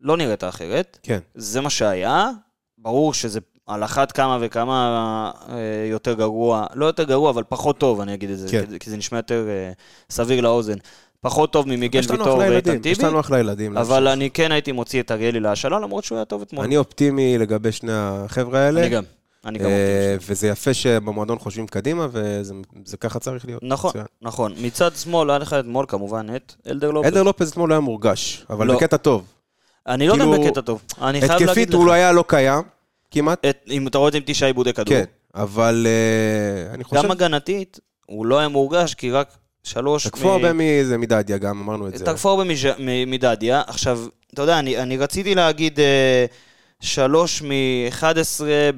S2: לא נראית אחרת,
S1: כן.
S2: זה מה שהיה, ברור שזה על אחת כמה וכמה אה, יותר גרוע, לא יותר גרוע, אבל פחות טוב, אני אגיד את זה,
S1: כן.
S2: כי- כי זה נשמע יותר אה, סביר לאוזן. פחות טוב ממיגל
S1: יש לנו
S2: כן, ויטור
S1: אחלה
S2: ואיתן
S1: ילדים,
S2: טיבי,
S1: יש לנו אחלה ילדים.
S2: אבל
S1: להמשיך.
S2: אני כן הייתי מוציא את אריאלי להשאלה, למרות שהוא היה טוב אתמול.
S1: אני אופטימי לגבי שני החבר'ה האלה.
S2: אני גם. אני גם.
S1: אה, וזה יפה שבמועדון חושבים קדימה, וזה זה ככה צריך להיות.
S2: נכון,
S1: מצוין.
S2: נכון. מצד שמאל, היה לך אתמול כמובן את אלדר לופס.
S1: עדר לופז אתמול לא היה מורגש, אבל
S2: אוקיי. לא.
S1: בקטע טוב.
S2: אני לא יודע
S1: כאילו,
S2: בקטע טוב. אני חייב להגיד לך. אה,
S1: התקפית הוא לא היה לא קיים, כמעט.
S2: את- אם אתה רואה את זה עם תשעה עיבודי כדור.
S1: כן, אבל אה, אני חושב...
S2: לא. גם הגנתית, הוא לא היה מורגש, כי רק שלוש...
S1: תקפו
S2: מ-
S1: הרבה מזה מדדיה גם, אמרנו את זה.
S2: תקפו הרבה מז'- מ- מדדיה. עכשיו, אתה יודע, אני, אני רציתי להגיד אה, שלוש מ-11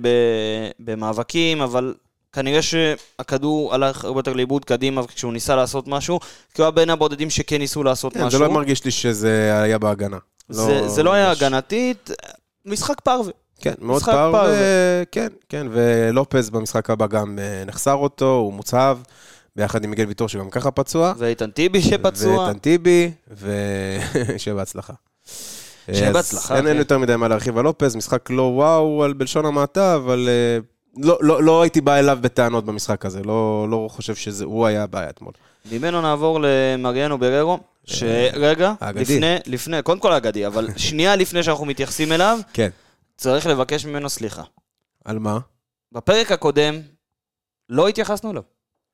S2: ב- במאבקים, אבל כנראה שהכדור הלך הרבה יותר לאיבוד קדימה כשהוא ניסה לעשות משהו, כי הוא היה בין הבודדים שכן ניסו לעשות
S1: כן, זה
S2: משהו.
S1: לא מרגיש לי שזה היה בהגנה.
S2: זה, זה לא היה
S1: ממש.
S2: הגנתית, משחק פרווה.
S1: כן, מאוד
S2: משחק
S1: פרווה,
S2: פרווה.
S1: כן, כן, ולופז במשחק הבא גם אה, נחסר אותו, הוא מוצהב, ביחד עם מיגל ויטור שגם ככה פצוע.
S2: ואיתן טיבי שפצוע.
S1: ואיתן טיבי, [laughs] ושיהיה בהצלחה.
S2: שיהיה
S1: אז
S2: בהצלחה,
S1: אין,
S2: כן.
S1: אין יותר מדי מה להרחיב על לופז, משחק לא וואו על בלשון המעטה, אבל אה, לא, לא, לא הייתי בא אליו בטענות במשחק הזה, לא, לא חושב שזה, הוא היה הבעיה אתמול.
S2: ממנו נעבור למריאנו בררו, שרגע,
S1: האגדי.
S2: לפני, לפני, קודם כל אגדי, אבל שנייה לפני שאנחנו מתייחסים אליו,
S1: כן.
S2: צריך לבקש ממנו סליחה.
S1: על מה?
S2: בפרק הקודם לא התייחסנו אליו.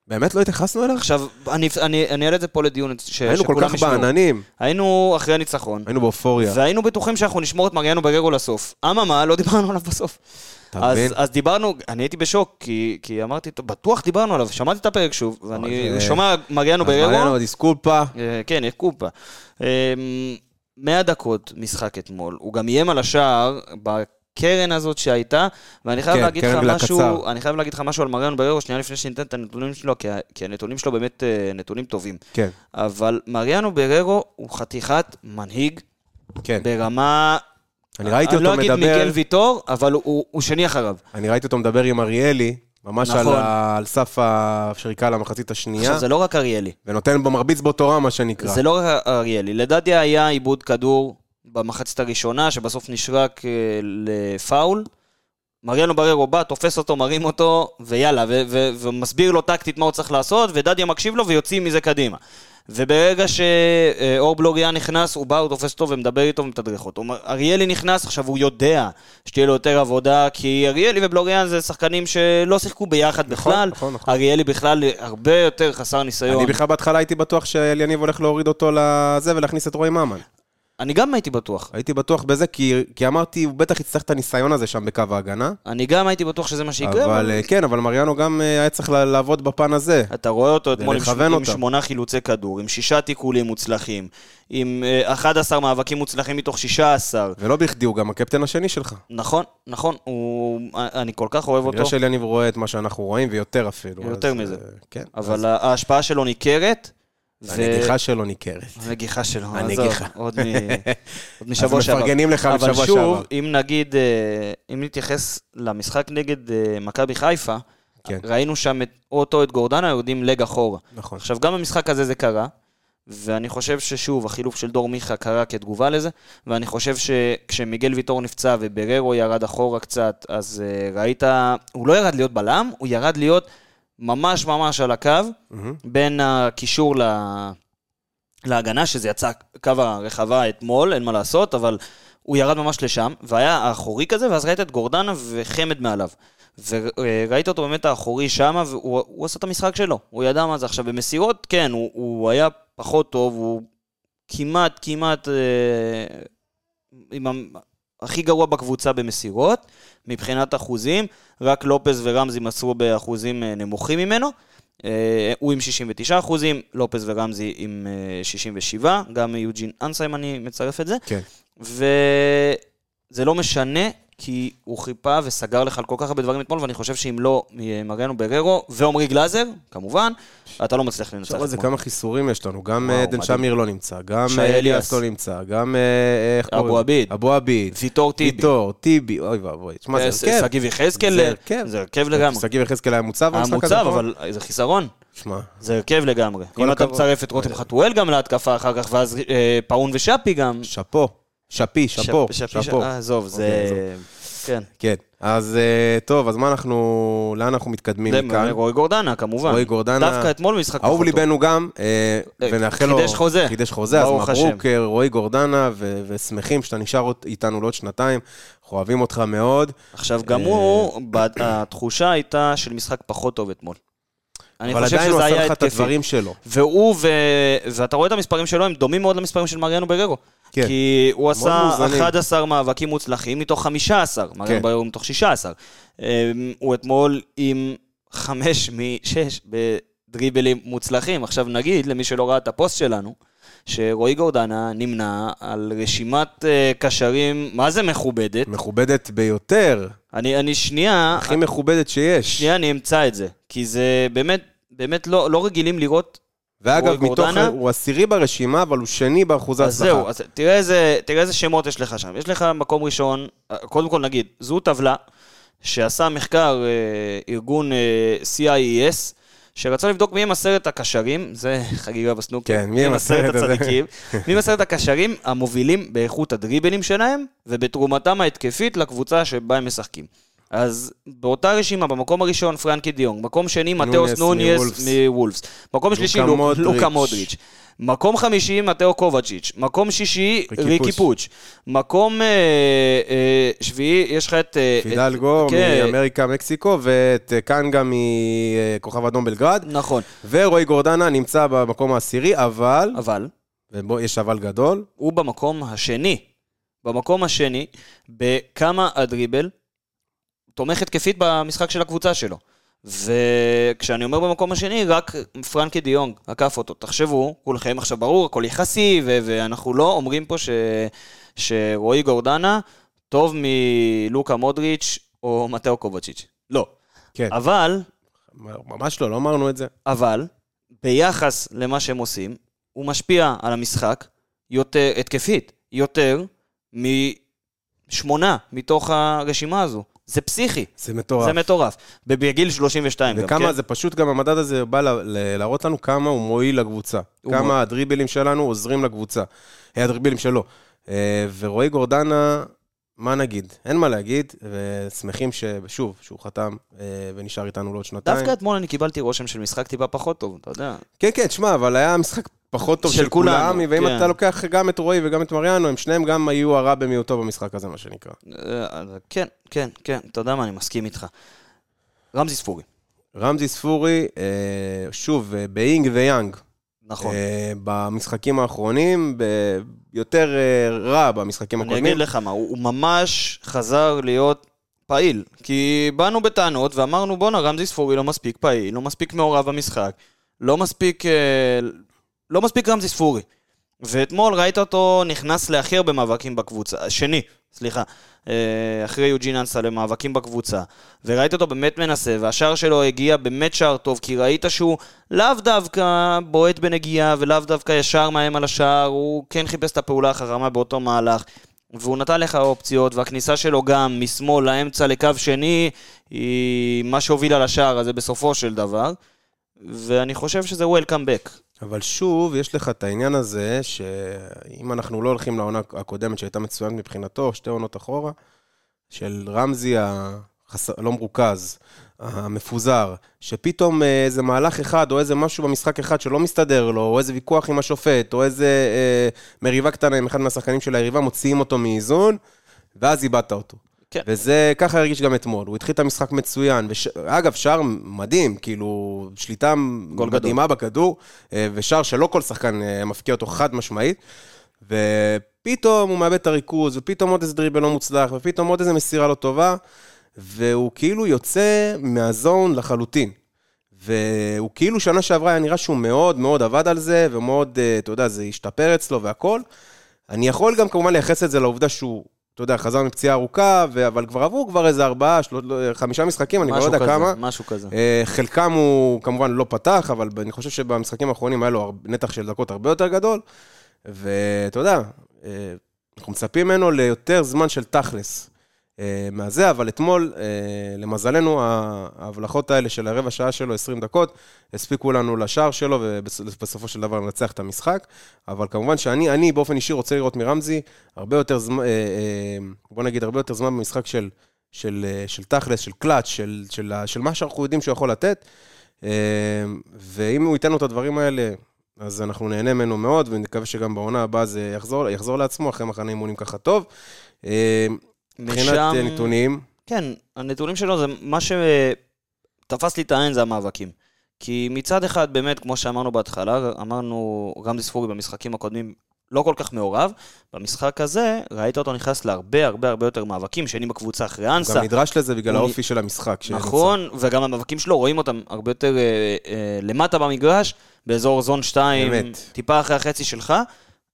S1: באמת לא התייחסנו אליו?
S2: עכשיו, אני- אני אני אעלה את זה פה לדיון, ש-
S1: היינו כל
S2: אה, שכולם
S1: כך
S2: ישמעו.
S1: בעננים,
S2: היינו אחרי הניצחון,
S1: היינו באופוריה.
S2: והיינו בטוחים שאנחנו נשמור את מריאנו בררו לסוף. אממה, לא דיברנו עליו בסוף.
S1: אתה
S2: אז-
S1: מבין?
S2: אז דיברנו, אני הייתי בשוק, כי- כי אמרתי, "טוב, בטוח דיברנו עליו, שמעתי את הפרק שוב, ואני
S1: זה-
S2: שומע מריאנו
S1: אז מריאנו,
S2: בררו,
S1: דיסקולפה.
S2: אה, כן, יש קופה. אה, 100 דקות משחק אתמול, הוא גם איים על השער בקרן הזאת שהייתה, ואני חייב
S1: כן,
S2: להגיד לך
S1: קרן
S2: משהו,
S1: לקצר.
S2: אני חייב להגיד לך משהו על מריאנו בררו, שנייה לפני שניתן את הנתונים שלו, כי ה- כי הנתונים שלו באמת אה, נתונים טובים.
S1: כן,
S2: אבל מריאנו בררו הוא חתיכת מנהיג
S1: כן.
S2: ברמה...
S1: אני ראיתי
S2: לא
S1: אותו
S2: אגיד מיגל
S1: מדבר,
S2: ויטור, אבל הוא הוא שני אחריו.
S1: אני ראיתי אותו מדבר עם אריאלי, ממש על
S2: נכון.
S1: ה- על סף השריקה למחצית השנייה,
S2: עכשיו, זה לא רק אריאלי.
S1: ונותן בו מרביץ באותו רם, מה שנקרא.
S2: זה לא רק אריאלי. לדדיה היה עיבוד כדור במחצית הראשונה, שבסוף נשרק אה, לפאול. מריאנו בררו בא, תופס אותו, מרים אותו, ויאללה, ו- ו- ומסביר לו טקטית מה הוא צריך לעשות, ודדיה מקשיב לו ויוצאים מזה קדימה. וברגע שאור בלוריה נכנס, הוא בא, הוא תופס אותו ומדבר איתו ומתדרך אותו. מר- אריאלי נכנס, עכשיו הוא יודע שתהיה לו יותר עבודה, כי אריאלי ובלוריאן זה שחקנים שלא שיחקו ביחד
S1: נכון,
S2: בכלל.
S1: נכון, נכון.
S2: אריאלי בכלל הרבה יותר חסר ניסיון.
S1: אני בכלל בהתחלה הייתי בטוח שאליניב הולך להוריד אותו לזה ולהכניס את רועי ממן.
S2: אני גם הייתי בטוח.
S1: הייתי בטוח בזה, כי, כי אמרתי, הוא בטח יצטרך את הניסיון הזה שם בקו ההגנה.
S2: אני גם הייתי בטוח שזה מה שיקרה,
S1: אבל
S2: אבל...
S1: אה, כן, אבל מריאנו גם אה, היה צריך לה- לעבוד בפן הזה.
S2: אתה רואה אותו אתמול עם ש-
S1: ולכוון
S2: עם
S1: אותם.
S2: שמונה חילוצי כדור, עם שישה תיקולים מוצלחים, עם אה, 11 מאבקים מוצלחים מתוך 16.
S1: ולא בכדי, הוא גם הקפטן השני שלך.
S2: נכון, נכון, הוא... אני כל כך אוהב אותו,
S1: בגלל שאליניב רואה את מה שאנחנו רואים, ויותר אפילו.
S2: יותר
S1: אז,
S2: מזה.
S1: אה, כן.
S2: אבל ה- ההשפעה שלו ניכרת. ו-
S1: הנגיחה שלו ניכרת.
S2: הנגיחה שלו,
S1: הנגיחה.
S2: עזוב,
S1: [laughs]
S2: עוד, מ... עוד משבוע
S1: אז
S2: שעבר.
S1: מפרגנים לך
S2: אבל
S1: משבוע
S2: שוב,
S1: שעבר.
S2: אם נגיד, אה, אם נתייחס למשחק נגד אה, מכבי חיפה,
S1: כן.
S2: ראינו שם את, אותו, את גורדנה, יורדים לג אחורה.
S1: נכון.
S2: עכשיו, גם במשחק הזה זה קרה, ואני חושב ששוב, החילוף של דור מיכה קרה כתגובה לזה, ואני חושב שכשמיגל ויטור נפצע ובררו ירד אחורה קצת, אז uh, ראית, הוא לא ירד להיות בלם, הוא ירד להיות ממש ממש על הקו,
S1: מהמם.
S2: בין הקישור ל... להגנה, שזה יצא קו הרחבה אתמול, אין מה לעשות, אבל הוא ירד ממש לשם, והיה האחורי כזה, ואז ראית את גורדנה וחמד מעליו. וראית אותו באמת האחורי שמה, והוא הוא עשה את המשחק שלו, הוא ידע מה זה. עכשיו, במסירות, כן, הוא, הוא היה פחות טוב, הוא כמעט, כמעט, אה, עם ה... הכי גרוע בקבוצה במסירות, מבחינת אחוזים, רק לופס ורמזי מסרו באחוזים אה, נמוכים ממנו. אה, הוא עם 69 אחוזים, לופס ורמזי עם אה, 67, גם יוג'ין אנסה, אם אני מצרף את זה.
S1: כן.
S2: וזה לא משנה, כי הוא חיפה וסגר לך על כל כך הרבה דברים אתמול, ואני חושב שאם לא אה, מריאנו בררו ועומרי גלאזר, כמובן, אתה לא מצליח לנצח
S1: תחשוב על זה
S2: אתמול.
S1: כמה חיסורים יש לנו, גם
S2: וואו,
S1: אה, עדן
S2: מדהים.
S1: שמיר לא נמצא, גם
S2: שי
S1: אה,
S2: אליאס.
S1: אליאס לא נמצא, גם... אה, איך
S2: אבו
S1: קוראים לו?
S2: עביד.
S1: אבו עביד.
S2: ויטור טיבי.
S1: ויטור, טיבי, אוי ואבוי. תשמע,
S2: אה,
S1: זה כן, הרכב.
S2: שגיב יחזקאל,
S1: זה הרכב.
S2: זה הרכב לגמרי.
S1: שגיב יחזקאל היה מוצב
S2: היה
S1: במשחק
S2: מוצב,
S1: נכון?
S2: אבל זה חיסרון. אה,
S1: שמע,
S2: זה הרכב לגמרי. אם אתה
S1: הכבוד.
S2: מצרף את רותם חתואל גם להתקפה אחר כך, ואז אה, פאון ושאפי גם.
S1: שאפו. שפי, שאפו,
S2: שפ- שפי-
S1: שאפו.
S2: אה, עזוב, זה...
S1: אוקיי,
S2: כן.
S1: כן. אז אה, טוב, אז מה אנחנו... לאן אנחנו מתקדמים
S2: זה
S1: מכאן?
S2: רועי גורדנה, כמובן.
S1: רועי גורדנה.
S2: דווקא אתמול משחק
S1: אהוב
S2: פחות טוב.
S1: ליבנו גם, אה,
S2: אה,
S1: ונאחל לו...
S2: חידש חוזה.
S1: חידש חוזה, אז
S2: ברוך השם.
S1: מברוק, אה, רועי גורדנה, ו- ושמחים שאתה נשאר אות- איתנו לעוד שנתיים. אנחנו אוהבים אותך מאוד.
S2: עכשיו, גם
S1: אה.
S2: הוא, ב- התחושה הייתה של משחק פחות טוב אתמול. אני
S1: אבל
S2: חושב
S1: עדיין הוא
S2: שזה
S1: עשה
S2: היה
S1: לך את
S2: התקפי.
S1: הדברים שלו.
S2: והוא, ו- ואתה רואה את המספרים שלו, הם דומים מאוד למספרים של מריאנו בררו.
S1: כן.
S2: כי הוא עשה
S1: מאוזנים.
S2: 11 מאבקים מוצלחים מתוך 15, מריון
S1: כן.
S2: ביור מתוך 16. אמ, הוא אתמול עם 5 מ-6 בדריבלים מוצלחים. עכשיו נגיד, למי שלא ראה את הפוסט שלנו, שרועי גורדנה נמנה על רשימת אה, קשרים, מה זה מכובדת?
S1: מכובדת ביותר,
S2: אני, אני שנייה,
S1: הכי מכובדת שיש.
S2: שנייה אני אמצא את זה, כי זה באמת, באמת לא, לא רגילים לראות
S1: ואגב,
S2: רועי
S1: מתוך...
S2: גורדנה?
S1: הוא עשירי ברשימה, אבל הוא שני באחוזי
S2: אז
S1: הצלחה.
S2: זהו, אז תראה איזה, תראה איזה שמות יש לך שם. יש לך מקום ראשון, אה, קודם כל נגיד, זו טבלה שעשה מחקר אה, ארגון אה, CIES, שרצה לבדוק מי הם עשרת הקשרים, זה [laughs] חגיגה בסנוקר,
S1: כן, מי הם עשרת הזה? [laughs]
S2: הצדיקים, מי הם עשרת הקשרים המובילים באיכות הדריבלים שלהם ובתרומתם ההתקפית לקבוצה שבה הם משחקים. אז באותה רשימה, במקום הראשון, פרנקי דיונג, מקום שני, מתאוס
S1: נוניס
S2: נוניאס
S1: מוולפס.
S2: מוולפס, מקום שלישי, לוק-
S1: מודריץ'.
S2: לוקה מודריץ', מקום חמישי, מתאו קובצ'יץ', מקום שישי,
S1: ריקי
S2: ריקי
S1: פוץ'.
S2: פוץ', מקום אה, אה, שביעי, יש לך את... אה,
S1: פידלגו
S2: את- כן,
S1: מאמריקה, מקסיקו, ואת אה, קנגה מכוכב אדום בלגרד,
S2: נכון,
S1: ורועי גורדנה נמצא במקום העשירי, אבל,
S2: אבל
S1: ובו יש אבל גדול,
S2: הוא במקום השני. במקום השני, בכמה הדריבל תומך התקפית במשחק של הקבוצה שלו. וכשאני אומר במקום השני, רק פרנקי דיונג עקף אותו. תחשבו, כולכם עכשיו ברור, הכל יחסי, ו- ואנחנו לא אומרים פה ש- שרועי גורדנה טוב מלוקה מודריץ' או מתאו קובצ'יץ'. לא.
S1: כן.
S2: אבל,
S1: ממש לא, לא אמרנו את זה.
S2: אבל, ביחס למה שהם עושים, הוא משפיע על המשחק יותר, התקפית, יותר משמונה מתוך הרשימה הזו. זה פסיכי,
S1: זה
S2: זה
S1: מטורף.
S2: מטורף. בגיל 32 גם,
S1: וכמה,
S2: כן?
S1: זה פשוט גם המדד הזה בא ל- ל- להראות לנו כמה הוא מועיל לקבוצה.
S2: הוא מועיל.
S1: כמה הדריבלים שלנו עוזרים לקבוצה. אה, הדריבלים שלו. אה, ורועי גורדנה, מה נגיד? אין מה להגיד, ושמחים ששוב, שהוא חתם אה, ונשאר איתנו לעוד שנתיים.
S2: דווקא אתמול אני קיבלתי רושם של משחק טיפה פחות טוב, אתה יודע.
S1: כן, כן, תשמע, אבל היה משחק פחות טוב
S2: של
S1: של,
S2: כולנו,
S1: כולם, ואם
S2: כן.
S1: אתה לוקח גם את רועי וגם את מריאנו, הם שניהם גם היו הרע במיעוטו במשחק הזה, מה שנקרא.
S2: אה, אז כן, כן, כן, אתה יודע מה, אני מסכים איתך. רמזי ספורי,
S1: רמזי ספורי, אה, שוב, אה, באינג ויאנג.
S2: נכון.
S1: אה, במשחקים האחרונים, ב- יותר אה, רע במשחקים
S2: אני אגיד
S1: הקודמים.
S2: לך מה, הוא הוא ממש חזר להיות פעיל. כי באנו בטענות ואמרנו, בואנה, רמזי ספורי לא מספיק פעיל, לא מספיק מעורב במשחק, לא מספיק, אה, לא מספיק רמזי ספורי. ואתמול ראית אותו נכנס להכי הרבה מאבקים בקבוצה, שני, סליחה, אה, אחרי יוג'ין אנסה למאבקים בקבוצה, וראית אותו באמת מנסה, והשער שלו הגיע באמת שער טוב, כי ראית שהוא לאו דווקא בועט בנגיעה, ולאו דווקא ישר מאיים על השער, הוא כן חיפש את הפעולה החכמה באותו מהלך. והוא נתן לך אופציות, והכניסה שלו גם משמאל לאמצע לקו שני, היא מה שהובילה לשער הזה בסופו של דבר. ואני חושב שזה וולקאם בק.
S1: אבל שוב, יש לך את העניין הזה, שאם אנחנו לא הולכים לעונה הקודמת, שהייתה מצוינת מבחינתו, שתי עונות אחורה, של רמזי החס... לא מרוכז, המפוזר, שפתאום אה, איזה מהלך אחד, או איזה משהו במשחק אחד שלא מסתדר לו, או איזה ויכוח עם השופט, או איזה אה, מריבה קטנה עם אחד מהשחקנים של היריבה, מוציאים אותו מאיזון, ואז איבדת אותו.
S2: כן.
S1: וזה, ככה הרגיש גם אתמול. הוא התחיל את המשחק מצוין. וש... אגב, שער מדהים, כאילו, שליטה
S2: גול גדול.
S1: מדהימה בכדור, אה, ושער שלא כל שחקן אה, מפקיע אותו חד משמעית. ופתאום הוא מאבד את הריכוז, ופתאום עוד איזה דריבל לא מוצלח, ופתאום עוד איזה מסירה לא טובה, והוא כאילו יוצא מהזון לחלוטין. והוא כאילו שנה שעברה היה נראה שהוא מאוד מאוד עבד על זה, ומאוד, אה, אתה יודע, זה השתפר אצלו והכל. אני יכול גם כמובן לייחס את זה לעובדה שהוא, אתה יודע, חזר מפציעה ארוכה, ו- אבל כבר עברו כבר איזה ארבעה, של... חמישה משחקים, אני כבר לא
S2: משהו
S1: יודע
S2: כזה,
S1: כמה.
S2: משהו כזה.
S1: אה, חלקם הוא כמובן לא פתח, אבל אני חושב שבמשחקים האחרונים היה לו הר- נתח של דקות הרבה יותר גדול, ואתה יודע, אה, אנחנו מצפים ממנו ליותר זמן של תכלס אה, מהזה, אבל אתמול, אה, למזלנו, ה- ההבלחות האלה של הרבע שעה שלו, 20 דקות, הספיקו לנו לשער שלו, ובסופו של דבר ננצח את המשחק. אבל כמובן שאני, אני באופן אישי רוצה לראות מרמזי הרבה יותר זמן, אה, אה, בוא נגיד, הרבה יותר זמן במשחק של... של, אה, של תכלס, של קלאץ', של, של, ה- של מה שאנחנו יודעים שהוא יכול לתת. אה, ואם הוא ייתן לו את הדברים האלה, אז אנחנו נהנה ממנו מאוד, ונקווה שגם בעונה הבאה זה יחזור, יחזור לעצמו אחרי מחנה אימונים ככה טוב. אה, מבחינת אה, נתונים,
S2: כן, הנתונים שלו זה מה שתפס לי את העין זה המאבקים. כי מצד אחד, באמת, כמו שאמרנו בהתחלה, אמרנו רמזי ספורי במשחקים הקודמים, לא כל כך מעורב. במשחק הזה, ראית אותו נכנס להרבה הרבה הרבה יותר מאבקים, שני בקבוצה אחרי
S1: הוא
S2: אנסה.
S1: גם נדרש לזה בגלל
S2: הוא נ-
S1: האופי של המשחק. שנוצר.
S2: נכון, וגם המאבקים שלו, רואים אותם הרבה יותר אה, אה, למטה במגרש, באזור זון 2,
S1: אמת.
S2: טיפה אחרי החצי שלך.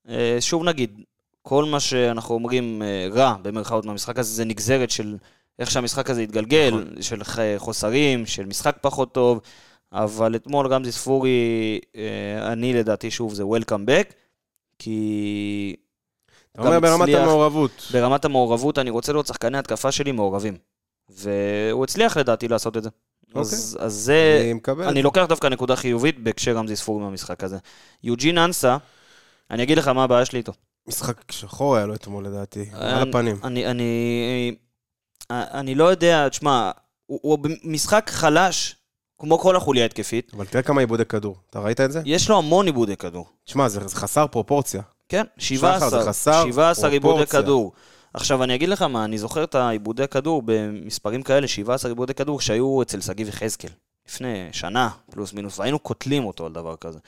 S2: אה, שוב נגיד, כל מה שאנחנו אומרים אה, רע, במרכאות, מהמשחק הזה, זה נגזרת של איך שהמשחק הזה התגלגל, נכון. של ח- חוסרים, של משחק פחות טוב, אבל אתמול רמזי ספורי, אה, אני לדעתי, שוב, זה Welcome back, כי
S1: אתה אומר
S2: גם
S1: ברמת
S2: הצליח-
S1: המעורבות.
S2: ברמת המעורבות, אני רוצה לראות שחקני התקפה שלי מעורבים. והוא הצליח לדעתי לעשות את זה.
S1: אוקיי.
S2: אז, אז זה,
S1: אני מקבל.
S2: אני לא- לוקח דווקא נקודה חיובית בהקשר רמזי ספורי מהמשחק הזה. יוג'ין אנסה, אני אגיד לך מה הבעיה שלי איתו.
S1: משחק שחור היה לו אתמול לדעתי, על
S2: אה, אני-
S1: הפנים.
S2: אני, אני, אני לא יודע, תשמע, הוא, הוא במשחק חלש, כמו כל החוליה התקפית.
S1: אבל תראה כמה איבודי כדור, אתה ראית את זה?
S2: יש לו המון עיבודי כדור.
S1: תשמע, זה זה חסר פרופורציה.
S2: כן,
S1: זה
S2: 17,
S1: חסר
S2: 17 עיבודי
S1: פרופורציה.
S2: כדור. עכשיו, אני אגיד לך מה, אני זוכר את העיבודי כדור במספרים כאלה, 17 עיבודי כדור שהיו אצל שגיב יחזקאל, לפני שנה, פלוס מינוס, והיינו קוטלים אותו על דבר כזה.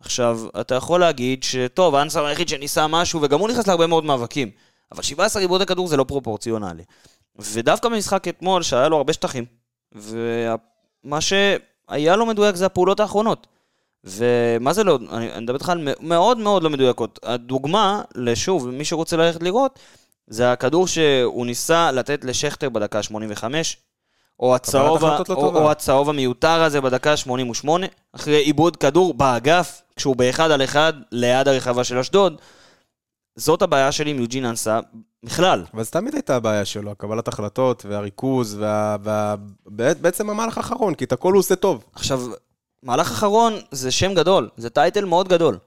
S2: עכשיו, אתה יכול להגיד שטוב, האנסר היחיד שניסה משהו, וגם הוא נכנס להרבה מאוד מאבקים, אבל 17 עיבודי כדור זה לא פרופורציונלי. ודווקא במשחק אתמול, שהיה לו הרבה שטחים, ומה שהיה לו מדויק זה הפעולות האחרונות. ומה זה לא, אני, אני מדבר איתך על מא- מאוד מאוד לא מדויקות. הדוגמה, לשוב, מי שרוצה ללכת לראות, זה הכדור שהוא ניסה לתת לשכטר בדקה ה-85, או הצהוב, ה-
S1: החלטות לא
S2: או,
S1: טובה.
S2: או הצהוב המיותר הזה בדקה ה-88, אחרי עיבוד כדור באגף, כשהוא באחד על אחד ליד הרחבה של אשדוד. זאת הבעיה שלי עם יוג'ין אנסה בכלל.
S1: אבל זו תמיד הייתה הבעיה שלו, הקבלת החלטות והריכוז, וה... וה... בע- בעצם המהלך האחרון, כי את הכל הוא עושה טוב.
S2: עכשיו, מהלך אחרון זה שם גדול, זה טייטל מאוד גדול.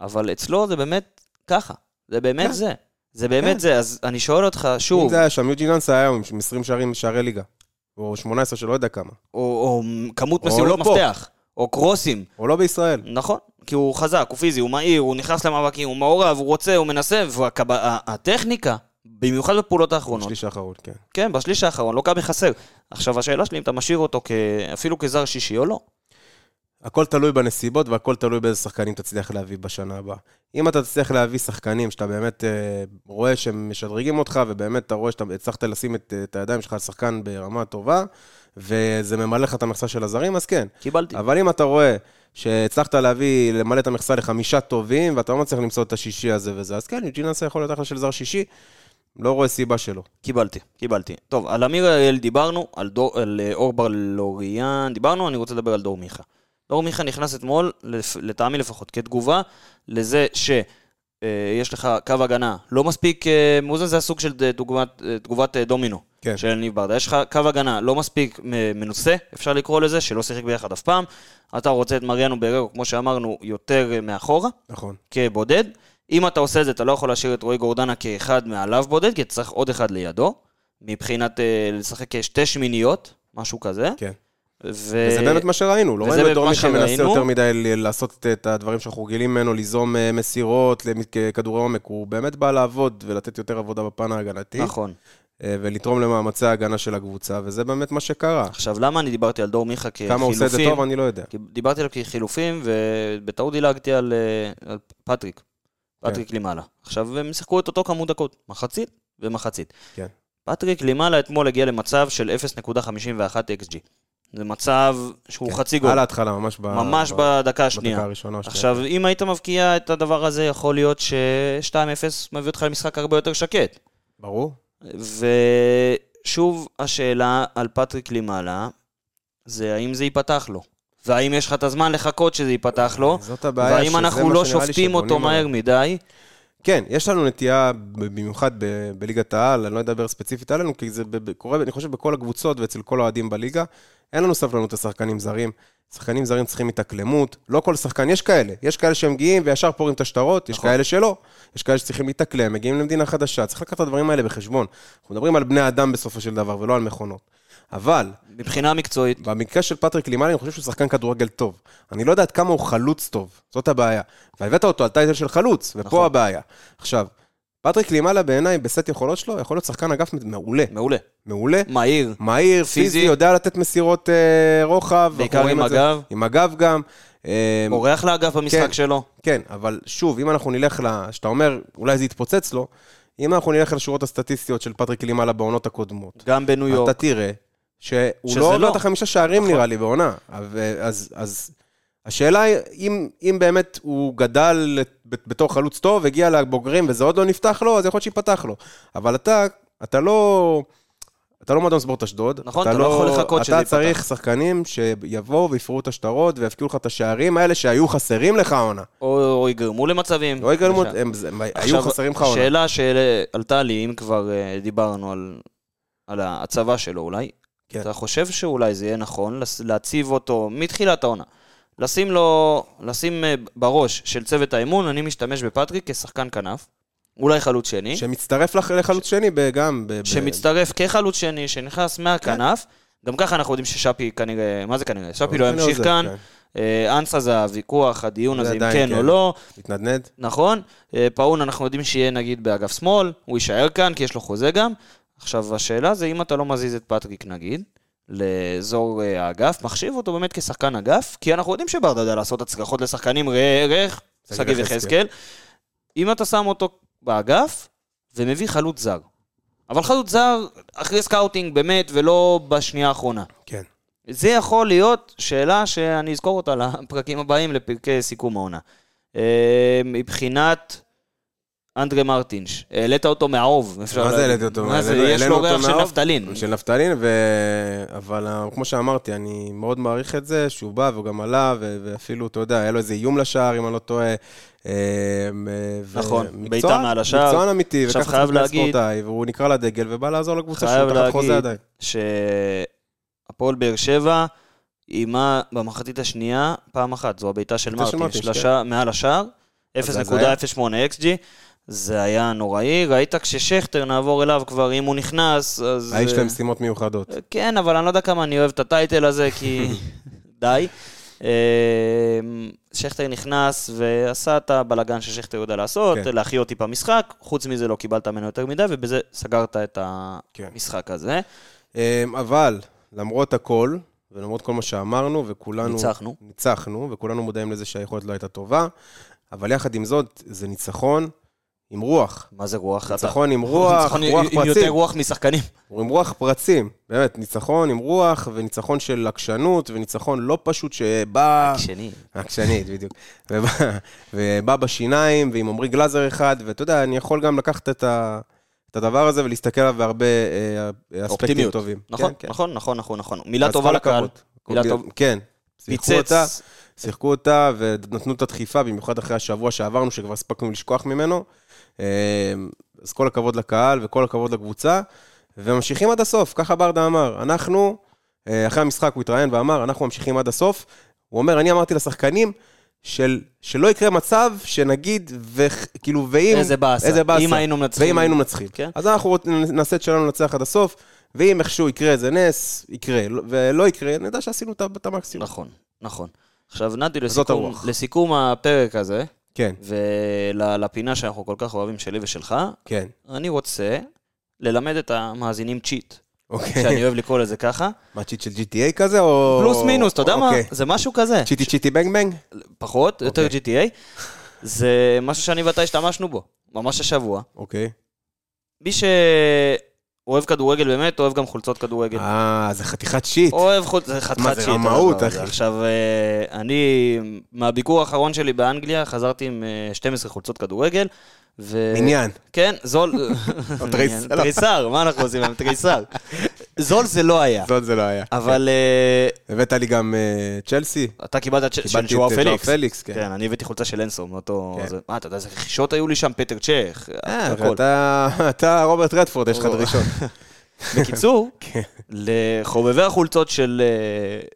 S2: אבל אצלו זה באמת ככה, זה באמת
S1: כן.
S2: זה. זה באמת
S1: כן.
S2: זה, אז אני שואל אותך
S1: אם
S2: שוב,
S1: זה היה שם, יוג'י ננסה היה עם 20 שערים שערי ליגה. או 18 שלא יודע כמה.
S2: או, או כמות
S1: או
S2: מסירות
S1: לא פה.
S2: מפתח, או קרוסים,
S1: או לא בישראל.
S2: נכון, כי הוא חזק, הוא פיזי, הוא מהיר, הוא נכנס למאבקים, הוא מעורב, הוא רוצה, הוא מנסה, והטכניקה, במיוחד בפעולות האחרונות,
S1: שליש האחרון, כן.
S2: כן, בשליש האחרון, לוקה מחסר. עכשיו, השאלה שלי אם אתה משאיר אותו כ... אפילו כזר שישי או לא.
S1: הכל תלוי בנסיבות והכל תלוי באיזה שחקנים תצליח להביא בשנה הבאה. אם אתה תצליח להביא שחקנים שאתה באמת אה, רואה שהם משדרגים אותך, ובאמת אתה רואה שאתה הצלחת לשים את, אה, את הידיים שלך על שחקן ברמה טובה, וזה ממלא לך את המכסה של הזרים, אז כן.
S2: קיבלתי.
S1: אבל אם אתה רואה שהצלחת להביא, למלא את המכסה לחמישה טובים, ואתה לא מצליח למצוא את השישי הזה וזה, אז כן, יוג'ינסה יכול להיות אחלה של זר שישי, לא רואה סיבה שלא.
S2: קיבלתי, קיבלתי. טוב, על אמיר אריאל דיברנו, על, דור, על אה, אור בר לוריאן דיברנו, אני רוצה לדבר על דור מיכה. דור מיכה נכנס אתמול, לפ- לטעמי לפחות, כתגובה לזה שיש אה, יש לך קו הגנה לא מספיק אה, מאוזן, זה הסוג של אה, דוגמת, אה, תגובת אה, דומינו.
S1: כן.
S2: של ניב ברדה. יש לך קו הגנה לא מספיק מ- מנוסה, אפשר לקרוא לזה, שלא שיחק ביחד אף פעם. אתה רוצה את מריאנו בררו, כמו שאמרנו, יותר אה, מאחורה.
S1: נכון.
S2: כבודד. אם אתה עושה את זה, אתה לא יכול להשאיר את רועי גורדנה כאחד מעליו בודד, כי אתה צריך עוד אחד לידו, מבחינת אה, לשחק כשתי שמיניות, משהו כזה.
S1: כן.
S2: ו...
S1: וזה באמת מה שראינו, לא
S2: וזה
S1: ראינו את
S2: באמת
S1: דור
S2: מה
S1: מיכה מנסה
S2: שראינו.
S1: יותר מדי ל- לעשות את- את הדברים שאנחנו רגילים ממנו, ליזום אה, מסירות, למ- כ- כדורי עומק, הוא באמת בא לעבוד ולתת יותר עבודה בפן ההגנתי,
S2: נכון.
S1: אה, ולתרום למאמצי ההגנה של הקבוצה, וזה באמת מה שקרה.
S2: עכשיו, למה אני דיברתי על דור מיכה כחילופים?
S1: כמה הוא עושה את זה טוב, אני לא יודע.
S2: כי דיברתי עליו כחילופים, ובטעות דילגתי על, אה, על פטריק.
S1: כן.
S2: פטריק למעלה. עכשיו, הם שיחקו את אותו כמות דקות, מחצית ומחצית.
S1: כן.
S2: פטריק למעלה אתמול הגיע למצב של 0.51 XG. זה מצב שהוא
S1: כן.
S2: חצי גול.
S1: על ההתחלה, ממש ב...
S2: ממש
S1: ב-
S2: בדקה
S1: בדקה
S2: השנייה.
S1: הראשונה. או השנייה.
S2: עכשיו, אם היית מבקיע את הדבר הזה, יכול להיות ש-2-0 מביא אותך למשחק הרבה יותר שקט.
S1: ברור.
S2: ושוב, השאלה על פטריק לימאלה, זה האם זה ייפתח לו. והאם יש לך את הזמן לחכות שזה ייפתח לו,
S1: זאת הבעיה,
S2: והאם
S1: שזה
S2: אנחנו
S1: מה
S2: לא
S1: שנראה לי
S2: שופטים אותו
S1: שבונים עליו.
S2: מהר מדי.
S1: כן, יש לנו נטייה, במיוחד ב- בליגת העל, אני לא אדבר ספציפית עלינו, כי זה ב- ב- קורה, אני חושב, בכל הקבוצות ואצל כל האוהדים בליגה. אין לנו סבלנות לשחקנים זרים. שחקנים זרים צריכים התאקלמות. לא כל שחקן, יש כאלה. יש כאלה שהם מגיעים וישר פורעים את השטרות, יש
S2: נכון.
S1: כאלה שלא. יש כאלה שצריכים להתאקלם, מגיעים למדינה חדשה. צריך לקחת את הדברים האלה בחשבון. אנחנו מדברים על בני אדם בסופו של דבר, ולא על מכונות. אבל,
S2: מבחינה מקצועית,
S1: במקרה של פטריק לימאלי, אני חושב שהוא שחקן כדורגל טוב. אני לא יודע עד כמה הוא חלוץ טוב, זאת הבעיה. והבאת אותו על טייטל של חלוץ, ופה
S2: נכון.
S1: הבעיה. עכשיו, פטריק לימאלה בעיניי, בסט יכולות שלו, יכול להיות שחקן אגף מעולה.
S2: מעולה.
S1: מעולה,
S2: מהיר.
S1: מהיר, פיזי,
S2: פיזי.
S1: יודע לתת מסירות אה, רוחב.
S2: בעיקר
S1: אנחנו רואים
S2: עם
S1: את זה.
S2: הגב.
S1: עם הגב גם. אה,
S2: אורח לאגף במשחק
S1: כן.
S2: שלו.
S1: כן, אבל שוב, אם אנחנו נלך ל... שאתה אומר, אולי זה יתפוצץ לו, אם אנחנו נלך לשורות הסטטיסטיות של פטריק לימלה בעונות הקודמות,
S2: גם בניו יורק.
S1: אתה תראה שהוא
S2: שזה
S1: לא עובר
S2: לא.
S1: את החמישה שערים, נראה לי, בעונה. ו- אז, אז השאלה היא, אם, אם באמת הוא גדל לת- בתור חלוץ טוב, הגיע לבוגרים וזה עוד לא נפתח לו, אז יכול להיות שייפתח לו. אבל אתה, אתה לא... אתה לא מועדון ספורט אשדוד.
S2: נכון, אתה לא יכול לחכות שזה
S1: אתה
S2: ייפתח.
S1: צריך שחקנים שיבואו ויפרעו את השטרות ויבקיעו לך את השערים האלה שהיו חסרים לך העונה.
S2: או, או יגרמו למצבים.
S1: לא הגלמות,
S2: למשל.
S1: הם הם
S2: כן, עכשיו,
S1: היו חסרים לך עונה.
S2: שאלה שעלתה לי, אם כבר אה, דיברנו על, על ההצבה שלו אולי,
S1: כן.
S2: אתה חושב שאולי זה יהיה נכון לס- להציב אותו מתחילת העונה? לשים לו, לשים אה, בראש של צוות האימון, אני משתמש בפטריק כשחקן כנף, אולי חלוץ שני,
S1: שמצטרף לח- לחלוץ שני ב- גם. ב- ב-
S2: שמצטרף כחלוץ שני, שנכנס
S1: כן.
S2: מהכנף. גם ככה אנחנו יודעים ששאפי כנראה, מה זה כנראה? שפי לא
S1: כנראה
S2: ימשיך
S1: עוזב,
S2: כאן.
S1: כן.
S2: אה, אנסה זה הוויכוח, הדיון
S1: זה
S2: הזה, אם
S1: עדיין
S2: כן או
S1: כן.
S2: לא.
S1: מתנדנד.
S2: נכון, אה, פאון אנחנו יודעים שיהיה נגיד באגף שמאל, הוא יישאר כאן כי יש לו חוזה גם. עכשיו השאלה זה אם אתה לא מזיז את פטריק נגיד, לאזור אה, האגף, מחשיב אותו באמת כשחקן אגף, כי אנחנו יודעים שברדה יודע לעשות הצרחות לשחקנים ראה ערך,
S1: שגיב
S2: שגיב
S1: יחזקאל.
S2: יחזקאל. אם אתה שם אותו באגף ומביא חלוץ זר. אבל חלוץ זר אחרי סקאוטינג באמת ולא בשנייה האחרונה.
S1: כן.
S2: זה יכול להיות שאלה שאני אזכור אותה לפרקים הבאים, לפרקי סיכום העונה. אה, מבחינת אנדרי מרטינש, העלית אותו מהאוב. אפשר
S1: מה זה
S2: להגיד.
S1: העליתי אותו?
S2: מה זה,
S1: העלינו-
S2: יש לו
S1: העלינו אותו
S2: ריח של
S1: מהאוב?
S2: נפתלין.
S1: של נפתלין, ו... אבל אה, כמו שאמרתי, אני מאוד מעריך את זה, שהוא בא והוא גם עלה, ו... ואפילו, אתה יודע, היה לו איזה איום לשער, אם אני לא טועה. אה, ו-
S2: נכון,
S1: מקצוען-
S2: בעיטה מעל השער.
S1: מקצוען אמיתי,
S2: עכשיו
S1: וככה
S2: חייב
S1: צריך להיות
S2: להגיד-
S1: ספורטאי, והוא נקרא לדגל ובא לעזור לקבוצה
S2: חייב
S1: שהוא תחת
S2: להגיד
S1: חוזה עדיין.
S2: שהפועל באר שבע איימה במחצית השנייה פעם אחת, זו הבעיטה של
S1: בעיטה של
S2: מרטינש,
S1: מרטינש, כן.
S2: לשע- מעל השער,
S1: אז זה
S2: 0.08 XG. זה היה נוראי, ראית כששכטר נעבור אליו כבר, אם הוא נכנס, אז...
S1: האיש
S2: אה,
S1: להם משימות מיוחדות.
S2: כן, אבל אני לא יודע כמה אני אוהב את הטייטל הזה,
S1: [laughs]
S2: כי די. אמ, שכטר נכנס ועשה את הבלגן ששכטר יודע לעשות,
S1: כן.
S2: להחיות טיפה משחק, חוץ מזה לא קיבלת ממנו יותר מדי, ובזה סגרת את
S1: כן.
S2: המשחק הזה.
S1: אמ, אבל, למרות הכל, ולמרות כל מה שאמרנו, וכולנו...
S2: ניצחנו.
S1: ניצחנו, וכולנו מודעים לזה שהיכולת לא הייתה טובה, אבל יחד עם זאת, זה ניצחון עם רוח.
S2: מה זה רוח? אתה-
S1: ניצחון עם רוח,
S2: ניצחון
S1: רוח
S2: עם יותר
S1: פרצים.
S2: רוח משחקנים.
S1: הוא עם רוח פרצים, באמת, ניצחון עם רוח, וניצחון של עקשנות, וניצחון לא פשוט שבא...
S2: שני.
S1: עקשנית, בדיוק. ובא, ובא בשיניים, ועם עמרי גלאזר אחד, ואתה יודע, אני יכול גם לקחת את, ה, את הדבר הזה ולהסתכל עליו בהרבה אה, אספקטים
S2: אופטימיות.
S1: טובים.
S2: נכון,
S1: כן, כן.
S2: נכון, נכון, נכון, נכון. מילה
S1: אז
S2: טובה
S1: כל
S2: לקהל.
S1: הכבוד.
S2: מילה
S1: כל-
S2: טובה.
S1: כן. שיחקו אותה,
S2: פיצץ.
S1: שיחקו אותה ונתנו את הדחיפה, במיוחד אחרי השבוע שעברנו, שכבר הספקנו לשכוח ממנו. אה, אז כל הכבוד לקהל וכל הכבוד לקבוצה, וממשיכים עד הסוף, ככה ברדה אמר. אנחנו, אה, אחרי המשחק הוא התראיין ואמר, אנחנו ממשיכים עד הסוף. הוא אומר, אני אמרתי לשחקנים, של, שלא יקרה מצב שנגיד, וכאילו, ואם...
S2: איזה באסה.
S1: איזה באסה.
S2: אם היינו מנצחים.
S1: ואם היינו מנצחים.
S2: כן.
S1: אז אנחנו רוצ- נעשה את שלנו לנצח עד הסוף, ואם איכשהו יקרה איזה נס, יקרה, לא- ולא יקרה, נדע שעשינו את ה- את המקסימום.
S2: נכון, נכון. עכשיו, נתי,
S1: זאת
S2: לסיכום-
S1: הרוח.
S2: לסיכום הפרק הזה,
S1: כן,
S2: ולפינה שאנחנו כל כך אוהבים, שלי ושלך,
S1: כן.
S2: אני רוצה ללמד את המאזינים צ'יט, שאני
S1: אוקיי.
S2: אוהב לקרוא לזה ככה.
S1: מה, צ'יט של GTA כזה, או...
S2: פלוס מינוס, אתה יודע מה?
S1: אוקיי.
S2: זה משהו כזה.
S1: צ'יטי צ'יטי בנג בנג?
S2: פחות, יותר
S1: אוקיי.
S2: GTA. זה משהו שאני ואתה השתמשנו בו, ממש השבוע.
S1: אוקיי.
S2: מי שאוהב כדורגל באמת, אוהב גם חולצות כדורגל.
S1: אה, זה חתיכת שיט.
S2: אוהב חולצות, זה חתיכת שיט.
S1: מה זה, רמאות,
S2: הדבר הזה.
S1: אחי.
S2: עכשיו, אה, אני, מהביקור האחרון שלי באנגליה, חזרתי עם אה, 12 חולצות כדורגל. ו...
S1: עניין.
S2: כן,
S1: [laughs]
S2: זול... [laughs]
S1: תריס- לא.
S2: תריסר, מה אנחנו עושים עם
S1: [laughs]
S2: תריסר? זול זה לא היה.
S1: זאת זה לא היה.
S2: אבל אה,
S1: הבאת לי גם אה, צ'לסי.
S2: אתה קיבלת צ'- של
S1: כן. קיבלתי
S2: ג'ואר
S1: את זה, ג'ואר
S2: פליקס.
S1: פליקס, כן.
S2: כן, אני הבאתי חולצה של אנסו מאותו...
S1: כן.
S2: זה- מה, אתה יודע איזה רכישות היו לי שם? פטר צ'ך,
S1: אה,
S2: הכל.
S1: ואתה- אתה רוברט רדפורד, יש לך
S2: או.
S1: דרישות.
S2: בקיצור,
S1: [laughs] כן.
S2: לחובבי החולצות של, אה,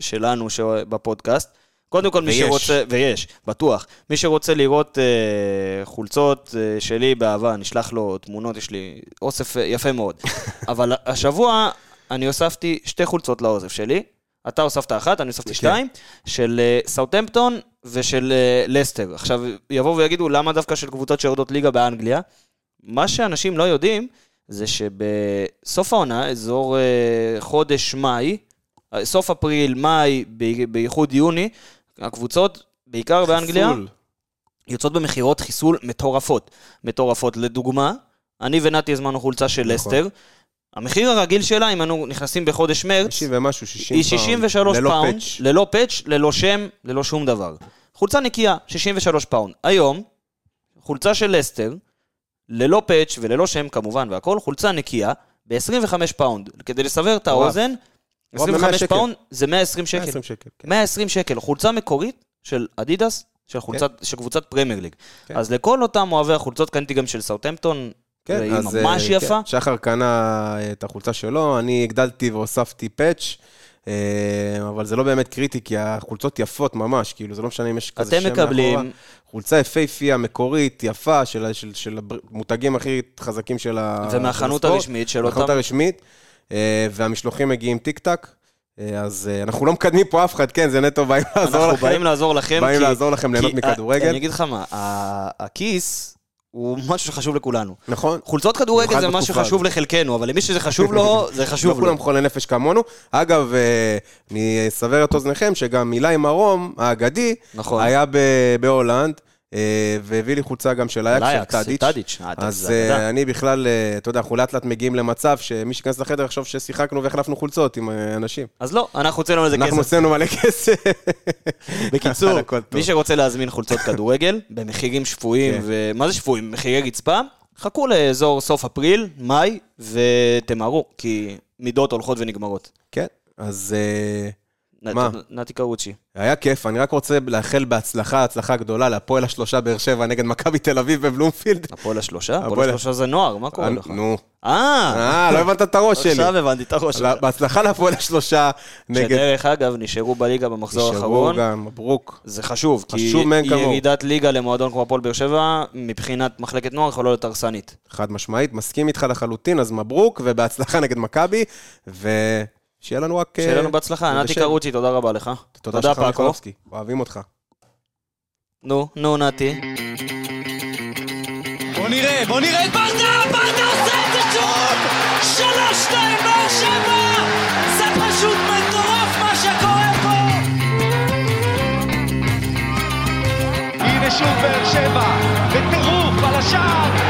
S2: שלנו ש- בפודקאסט, קודם כל מי
S1: ויש.
S2: שרוצה, ויש, בטוח, מי שרוצה לראות אה, חולצות אה, שלי באהבה, נשלח לו תמונות, יש לי אוסף אה, יפה מאוד.
S1: [laughs]
S2: אבל השבוע אני הוספתי שתי חולצות לאוסף שלי, אתה הוספת אחת, אני הוספתי
S1: כן.
S2: שתיים, של אה, סאוטהמפטון ושל אה, לסטר. עכשיו, יבואו ויגידו, למה דווקא של קבוצות שיורדות ליגה באנגליה? מה שאנשים לא יודעים, זה שבסוף העונה, אזור אה, חודש מאי, אה, סוף אפריל, מאי, ב- בייחוד יוני, הקבוצות, בעיקר באנגליה,
S1: פול.
S2: יוצאות במכירות חיסול מטורפות. מטורפות. לדוגמה, אני ונתי הזמנו חולצה של
S1: נכון.
S2: לסטר. המחיר הרגיל שלה, אם אנו נכנסים בחודש מרץ,
S1: 50 ומשהו, 60
S2: היא 63
S1: ללא
S2: פאונד,
S1: פאץ'.
S2: ללא פאץ', ללא שם, ללא שום דבר. חולצה נקייה, 63 פאונד. היום, חולצה של לסטר, ללא פאץ' וללא שם כמובן והכל, חולצה נקייה, ב-25 פאונד. כדי לסבר את
S1: וואו.
S2: האוזן,
S1: וואו, ב- 100
S2: 25
S1: שקל.
S2: פאונד זה 120 שקל.
S1: 120 שקל. כן.
S2: 120 שקל, חולצה מקורית של אדידס, של, חולצת, של קבוצת פרמייר ליג.
S1: כן.
S2: אז לכל אותם אוהבי החולצות, קניתי גם של סאוטמפטון,
S1: כן,
S2: והיא
S1: אז,
S2: ממש
S1: אה,
S2: יפה.
S1: כן. שחר קנה אה, את החולצה שלו, אני הגדלתי והוספתי פאץ', אה, אבל זה לא באמת קריטי, כי החולצות יפות ממש, כאילו, זה לא משנה אם יש כזה
S2: אתם
S1: שם מאחורה.
S2: מקבלים,
S1: חולצה יפהפייה, מקורית, יפה, של, ה- של, של המותגים הכי חזקים של ה...
S2: ומהחנות
S1: של הספורט.
S2: הרשמית של
S1: מהחנות
S2: אותם-
S1: הרשמית, אה, והמשלוחים מגיעים טיק-טק, אה, אז אה, אנחנו לא מקדמים פה אף אחד, כן, זה נטו באים [laughs] לעזור
S2: אנחנו
S1: לכם.
S2: באים לעזור לכם,
S1: באים
S2: כי-
S1: לעזור לכם ליהנות
S2: כי- אה,
S1: מכדורגל.
S2: אני אגיד לך מה, ה- הכיס הוא משהו שחשוב לכולנו.
S1: נכון.
S2: חולצות כדורגל
S1: במיוחד
S2: זה משהו
S1: בתקופה
S2: שחשוב לחלקנו, אבל למי שזה חשוב לו, זה
S1: לא
S2: חשוב לו.
S1: כולם חולי נפש כמונו. אגב, אה, אני אסבר את אוזניכם שגם אילי מרום, האגדי,
S2: נכון.
S1: היה ב- בהולנד, אה, והביא לי חולצה גם של אייקס, של
S2: לאייקס, של
S1: טאדיץ'.
S2: טאדיץ'. אה, טאדיץ',
S1: אז
S2: זה
S1: אה,
S2: אגדה.
S1: אני בכלל, אה, אתה יודע, אנחנו לאט לאט מגיעים למצב שמי שייכנס לחדר יחשוב ששיחקנו והחלפנו חולצות עם אה, אנשים.
S2: אז לא, אנחנו הוצאנו על זה
S1: אנחנו
S2: כסף.
S1: עשינו מלא כסף. [laughs]
S2: בקיצור,
S1: הכל טוב.
S2: מי שרוצה להזמין חולצות כדורגל, [laughs] במחירים שפויים,
S1: כן.
S2: ומה זה שפויים? מחירי רצפה, חכו לאזור סוף אפריל, מאי, ותמהרו, כי מידות הולכות ונגמרות.
S1: כן, אז אה,
S2: נ-
S1: מה?
S2: נ- נתי קרוצ'י.
S1: היה כיף, אני רק רוצה לאחל בהצלחה, הצלחה גדולה להפועל השלושה באר שבע נגד מכבי תל אביב בבלומפילד.
S2: הפועל השלושה? הפועל
S1: הפועל-
S2: השלושה זה נוער, מה קורה לך?
S1: נו.
S2: אה,
S1: אה, לא הבנת את הראש שלי.
S2: עכשיו הבנתי את הראש.
S1: לה- בהצלחה להפועל השלושה נגד...
S2: שדרך אגב, נשארו בליגה במחזור
S1: נשארו
S2: האחרון.
S1: גם, מברוק.
S2: זה חשוב, כי
S1: חשוב מאין כמוהו.
S2: ירידת ליגה למועדון כמו הפועל באר שבע, מבחינת מחלקת נוער יכולה להיות הרסנית.
S1: חד משמעית, מסכים איתך לחלוטין, אז מברוק, ובהצלחה נגד מכבי, ושיהיה לנו רק...
S2: שיהיה לנו
S1: אה,
S2: בהצלחה. נתי
S1: ובשם.
S2: קרוצ'י, תודה רבה לך.
S1: תודה שלך, מיכולובסקי, אוהבים אותך.
S2: נו, נו, נתי.
S3: בוא נראה, בוא נראה את ברדה, ברדה עושה את זה שוב! שלוש, שתיים, באר שבע! זה פשוט מטורף מה שקורה פה!
S4: הנה שוב באר שבע, בטירוף על השער,